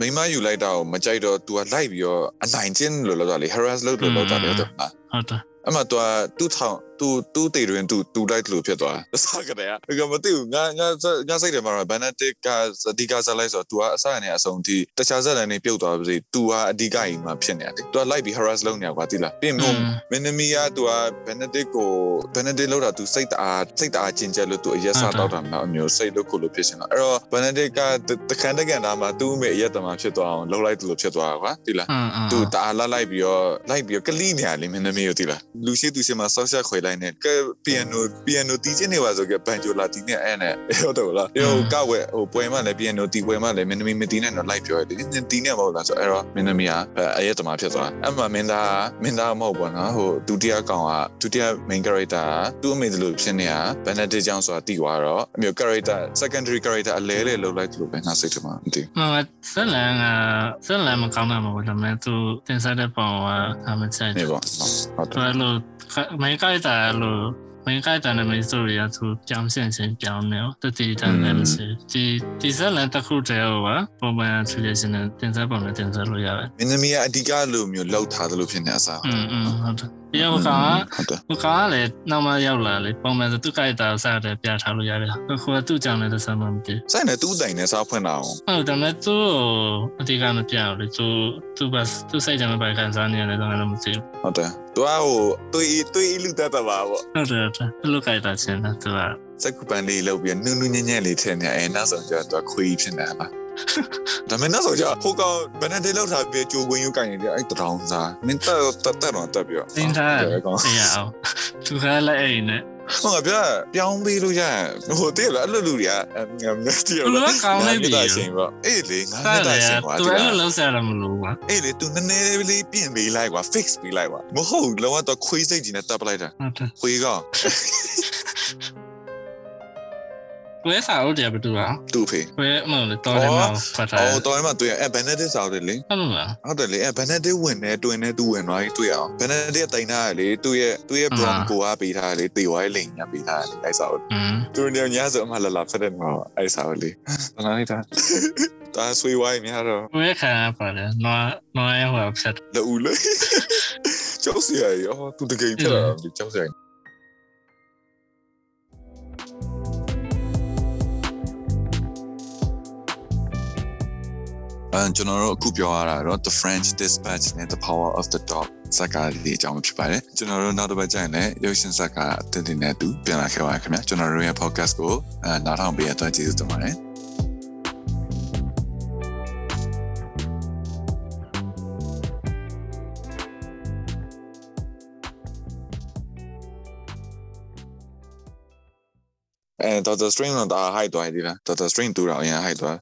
ဟိုမိန်းမယူလိုက်တာကိုမကြိုက်တော့ तू ကလိုက်ပြီးတော့အနိုင်ကျင့်လို့လောက်တာလေ harass လို့လို့လောက်တာလေတော့ပါ ဟုတ်တယ် အမှ तू သူ့ထောင် तू သူ့တေတွင် तू तू လိုက်လို့ဖြစ် သွားတာစကားတည်းကငါမသိဘူးငါငါငါစိတ်ထဲမှာတော့ benetic ကအဓိကဆက်လိုက်ဆိုတော့ तू ကအစကနေအဆုံးထိတခြားဆက်လန်နေပြုတ်သွားပါစေ तू ကအဓိကအိမ်မှာဖြစ်နေတာလေ तू လိုက်ပြီး harass လုပ်နေတာကွာတိလားပြင် อื မို့ ม မင်းသမီးကသူကဘယ်နဒစ်ကိုဘယ်နဒစ်လောက်တာသူစိတ်တအားစိတ်တအားကျဉ်ကျက်လို့သူအရက်စား ဟုတ် တော့ တယ် တာမျိုးအမျိုးစိတ်လို့ကိုလို့ဖြစ်ရှင်တော့အဲ့တော့ဘယ်နဒစ်ကတတခန်းတကန်သားမှာသူ့အမေအရက်တမန်ဖြစ်သွားအောင်လှုပ်လိုက်သူလို့ဖြစ်သွားတာကွာတိလား อืมอืม သူတအားလှလိုက်ပြီးတော့လိုက်ပြီးတော့ကလိနေရလေမင်းသမီးကိုတိလားလူရှိသူရှိမှာဆောက်ရှက်ခွေလိုက်နေကဲပီယန်နိုပီယန်နိုတီးချင်းနေပါဆိုကဲဘန်ဂျိုလာတီးနေအဲ့နဲ့ဟုတ်တယ်လားဟိုကောက်ဝဲဟိုပွဲမှလည်းပီယန်နိုတီးပွဲမှလည်းမင်းသမီးမတီးနိုင်တော့လိုက်ပြောရတယ်နင်တီးနေမဟုတ်လားဆိုအဲ့တော့မင်းသမီးကအရက်တမန်ဖြစ်သွားအဲ့မှာမင်းသားမင်းသားမဟုတ်ဘောနော်ဟိုဒုတိယကောင်ကဒုတိယ main character သူ့အမေတို့ဖြစ်နေတာ Benedict ကြောင့်ဆိုတာတီးသွားတော့အမျိုး character secondary character အလဲလဲလောက်လိုက်လို့ပဲငါစိတ်ထဲမှာမသိ မမဆက်လန်ကဆက်လန်မကောင်းတာမဟုတ်ဘူးဒါပေမဲ့သူတင်စားတဲ့ပုံကအမချိုက် နေ ဘူး ပေါ့ဟုတ် သူ တယ် အဲ့လိုမင်းကိုက်တာအဲ့လိုမင်းကိုက်တာနဲ့မင်းဆိုရသူပြောင်းစင်စင်ပြောင်းနေတော့တတိတန်နေလို့ရှိရင်ဒီဒီဆက်လန်တစ်ခုတည်းဟောပါပုံမှန်ဆိုရစင်တင်စားပုံနဲ့တင်စားလို့ရတယ် မင်းသမီးကအဓိကလိုမျိုးလောက်ထားသလိုဖြစ်နေအစား อืมอืมဟုတ်တယ်ပြော ဟု က တ် က ဟုတ်တယ် ။ဟိုကားကလည်းနောက်မှရောက်လာလေပုံမှန်ဆိုသူ့ကြိုက်တာကိုစားတယ်ပြထားလို့ရတယ်။အခုကသူ့ကြောင့်လည်းတစ်စားမှမတည် ဆိုင်နဲ့သူ့တိုင်နဲ့စားဖွင့်တာအောင် ။ဟုတ်တယ်ဒါပေမဲ့သူ့ကိုအတိအကမပြဘူးလေ။သူသူ့ဘတ်သူ့စိတ်ကြောင့်ပဲခံစားနေရတယ်တော့လည်းမသိဘူး ဟုတ်တယ်သူကဟိုတွေးတွေးလူတက်တာပါပေါ့ ။ဟုတ်တယ်ဟုတ်တယ်။သူ့လိုကြိုက်တာချင်းတာသူက စက်ကူပန်လေးလောက်ပြီးနူးနူးညံ့ညံ့လေးထည့်နေအဲနောက်ဆုံးကျတော့သူကခွေးဖြစ်နေတာပါဒါမင်းနောက်ဆုံးကျဟိုကောင်ဘယ်နဲ့တည်းလောက်ထားပြီးကြိုကွင်းယူကင်နေတယ်အဲ့တရောင်စားမင်းတက်တက်တက်တော့တက်ပြီးတော့ သင်ထားတယ် ကောင် သိရအောင်။သူကလည်းအဲ့ဒီနဲ့ ဟိုကပြပြောင်းပေးလို့ရဟိုတည်းလားအဲ့လိုလူတွေကငါမသိရ သူကကောင်းလိုက်ပြီ တာရှင်ပေါ့အေးလေငါ စားတ တာ ယ် ရှင် က ပေါ့ သူအဲ့လိုလုံးစားရမလို့ကွာ အဲ့လေ तू နည်းနည်းလေးပြင်ပေးလိုက်ကွာ fix ပေးလိုက်ကွာမဟုတ်လောကတော့ခွေးစိတ်ကြီးနဲ့တပ်ပလိုက်တာ ။ဟုတ်တယ် ခွေးကောင် ။ ဝဲစာဟုတ်တယ်ဘယ်သူလဲ သူ့ဖေ ဝဲမဟုတ်လေတော်တယ်မဟုတ်ဖတ်တာ အော်တော်ရမှာတွေ့ရအဲဘန်နက်ဒစ်စာတယ်လေ ဟုတ်လို့လား ဟုတ်တယ်လေအဲဘန်နက်ဒစ်ဝင်နေတွင်နေသူဝင်သွားပြီးတွေ့အောင်ဘန်နက်ဒစ်ကတိုင်ထားရလေသူ့ရဲ့သူ့ရဲ့ အ ဘ င်း ရွန်ကိုကပေးထားရလေတေဝိုင်းလိန်ညာပေးထားရလေအဲစာကို อืม သူတို့ညညဆိုအမလာလာဖက်တယ်မှာအဲစာကိုလေ ဘာလာလိုက်တာဒါဆွေးဝိုင်းများတော့ ဝဲခံရပါတယ်နွားနွားရဲ့ဟိုဖတ် လက်ဦးလေကျောက်စရာကြီးအော်သူတကယ်ဖြစ်လာတယ်ကျောက်စရာကြီး အဲကျွန်တော်တို့အခုပြောရတာတော့ The French Dispatch နဲ့ The Power of the Dog ဇာတ်ကားလေးအကြောင်းဖြစ်ပါတယ်ကျွန်တော်တို့နောက်တစ်ပတ်ကျရင်လည်းရုပ်ရှင်ဇာတ်ကားအသစ်တင်တဲ့သူပြန်လာခဲ့ပါရခင်ဗျာကျွန်တော်တို့ရဲ့ podcast ကိုအဲနားထောင်ပေးရတဲ့အတွက်ကျေးဇူးတင်ပါတယ်အဲ Doctor Strange တော့ဒါ height သွားရည်လား Doctor Strange တူတာအရင် height သွား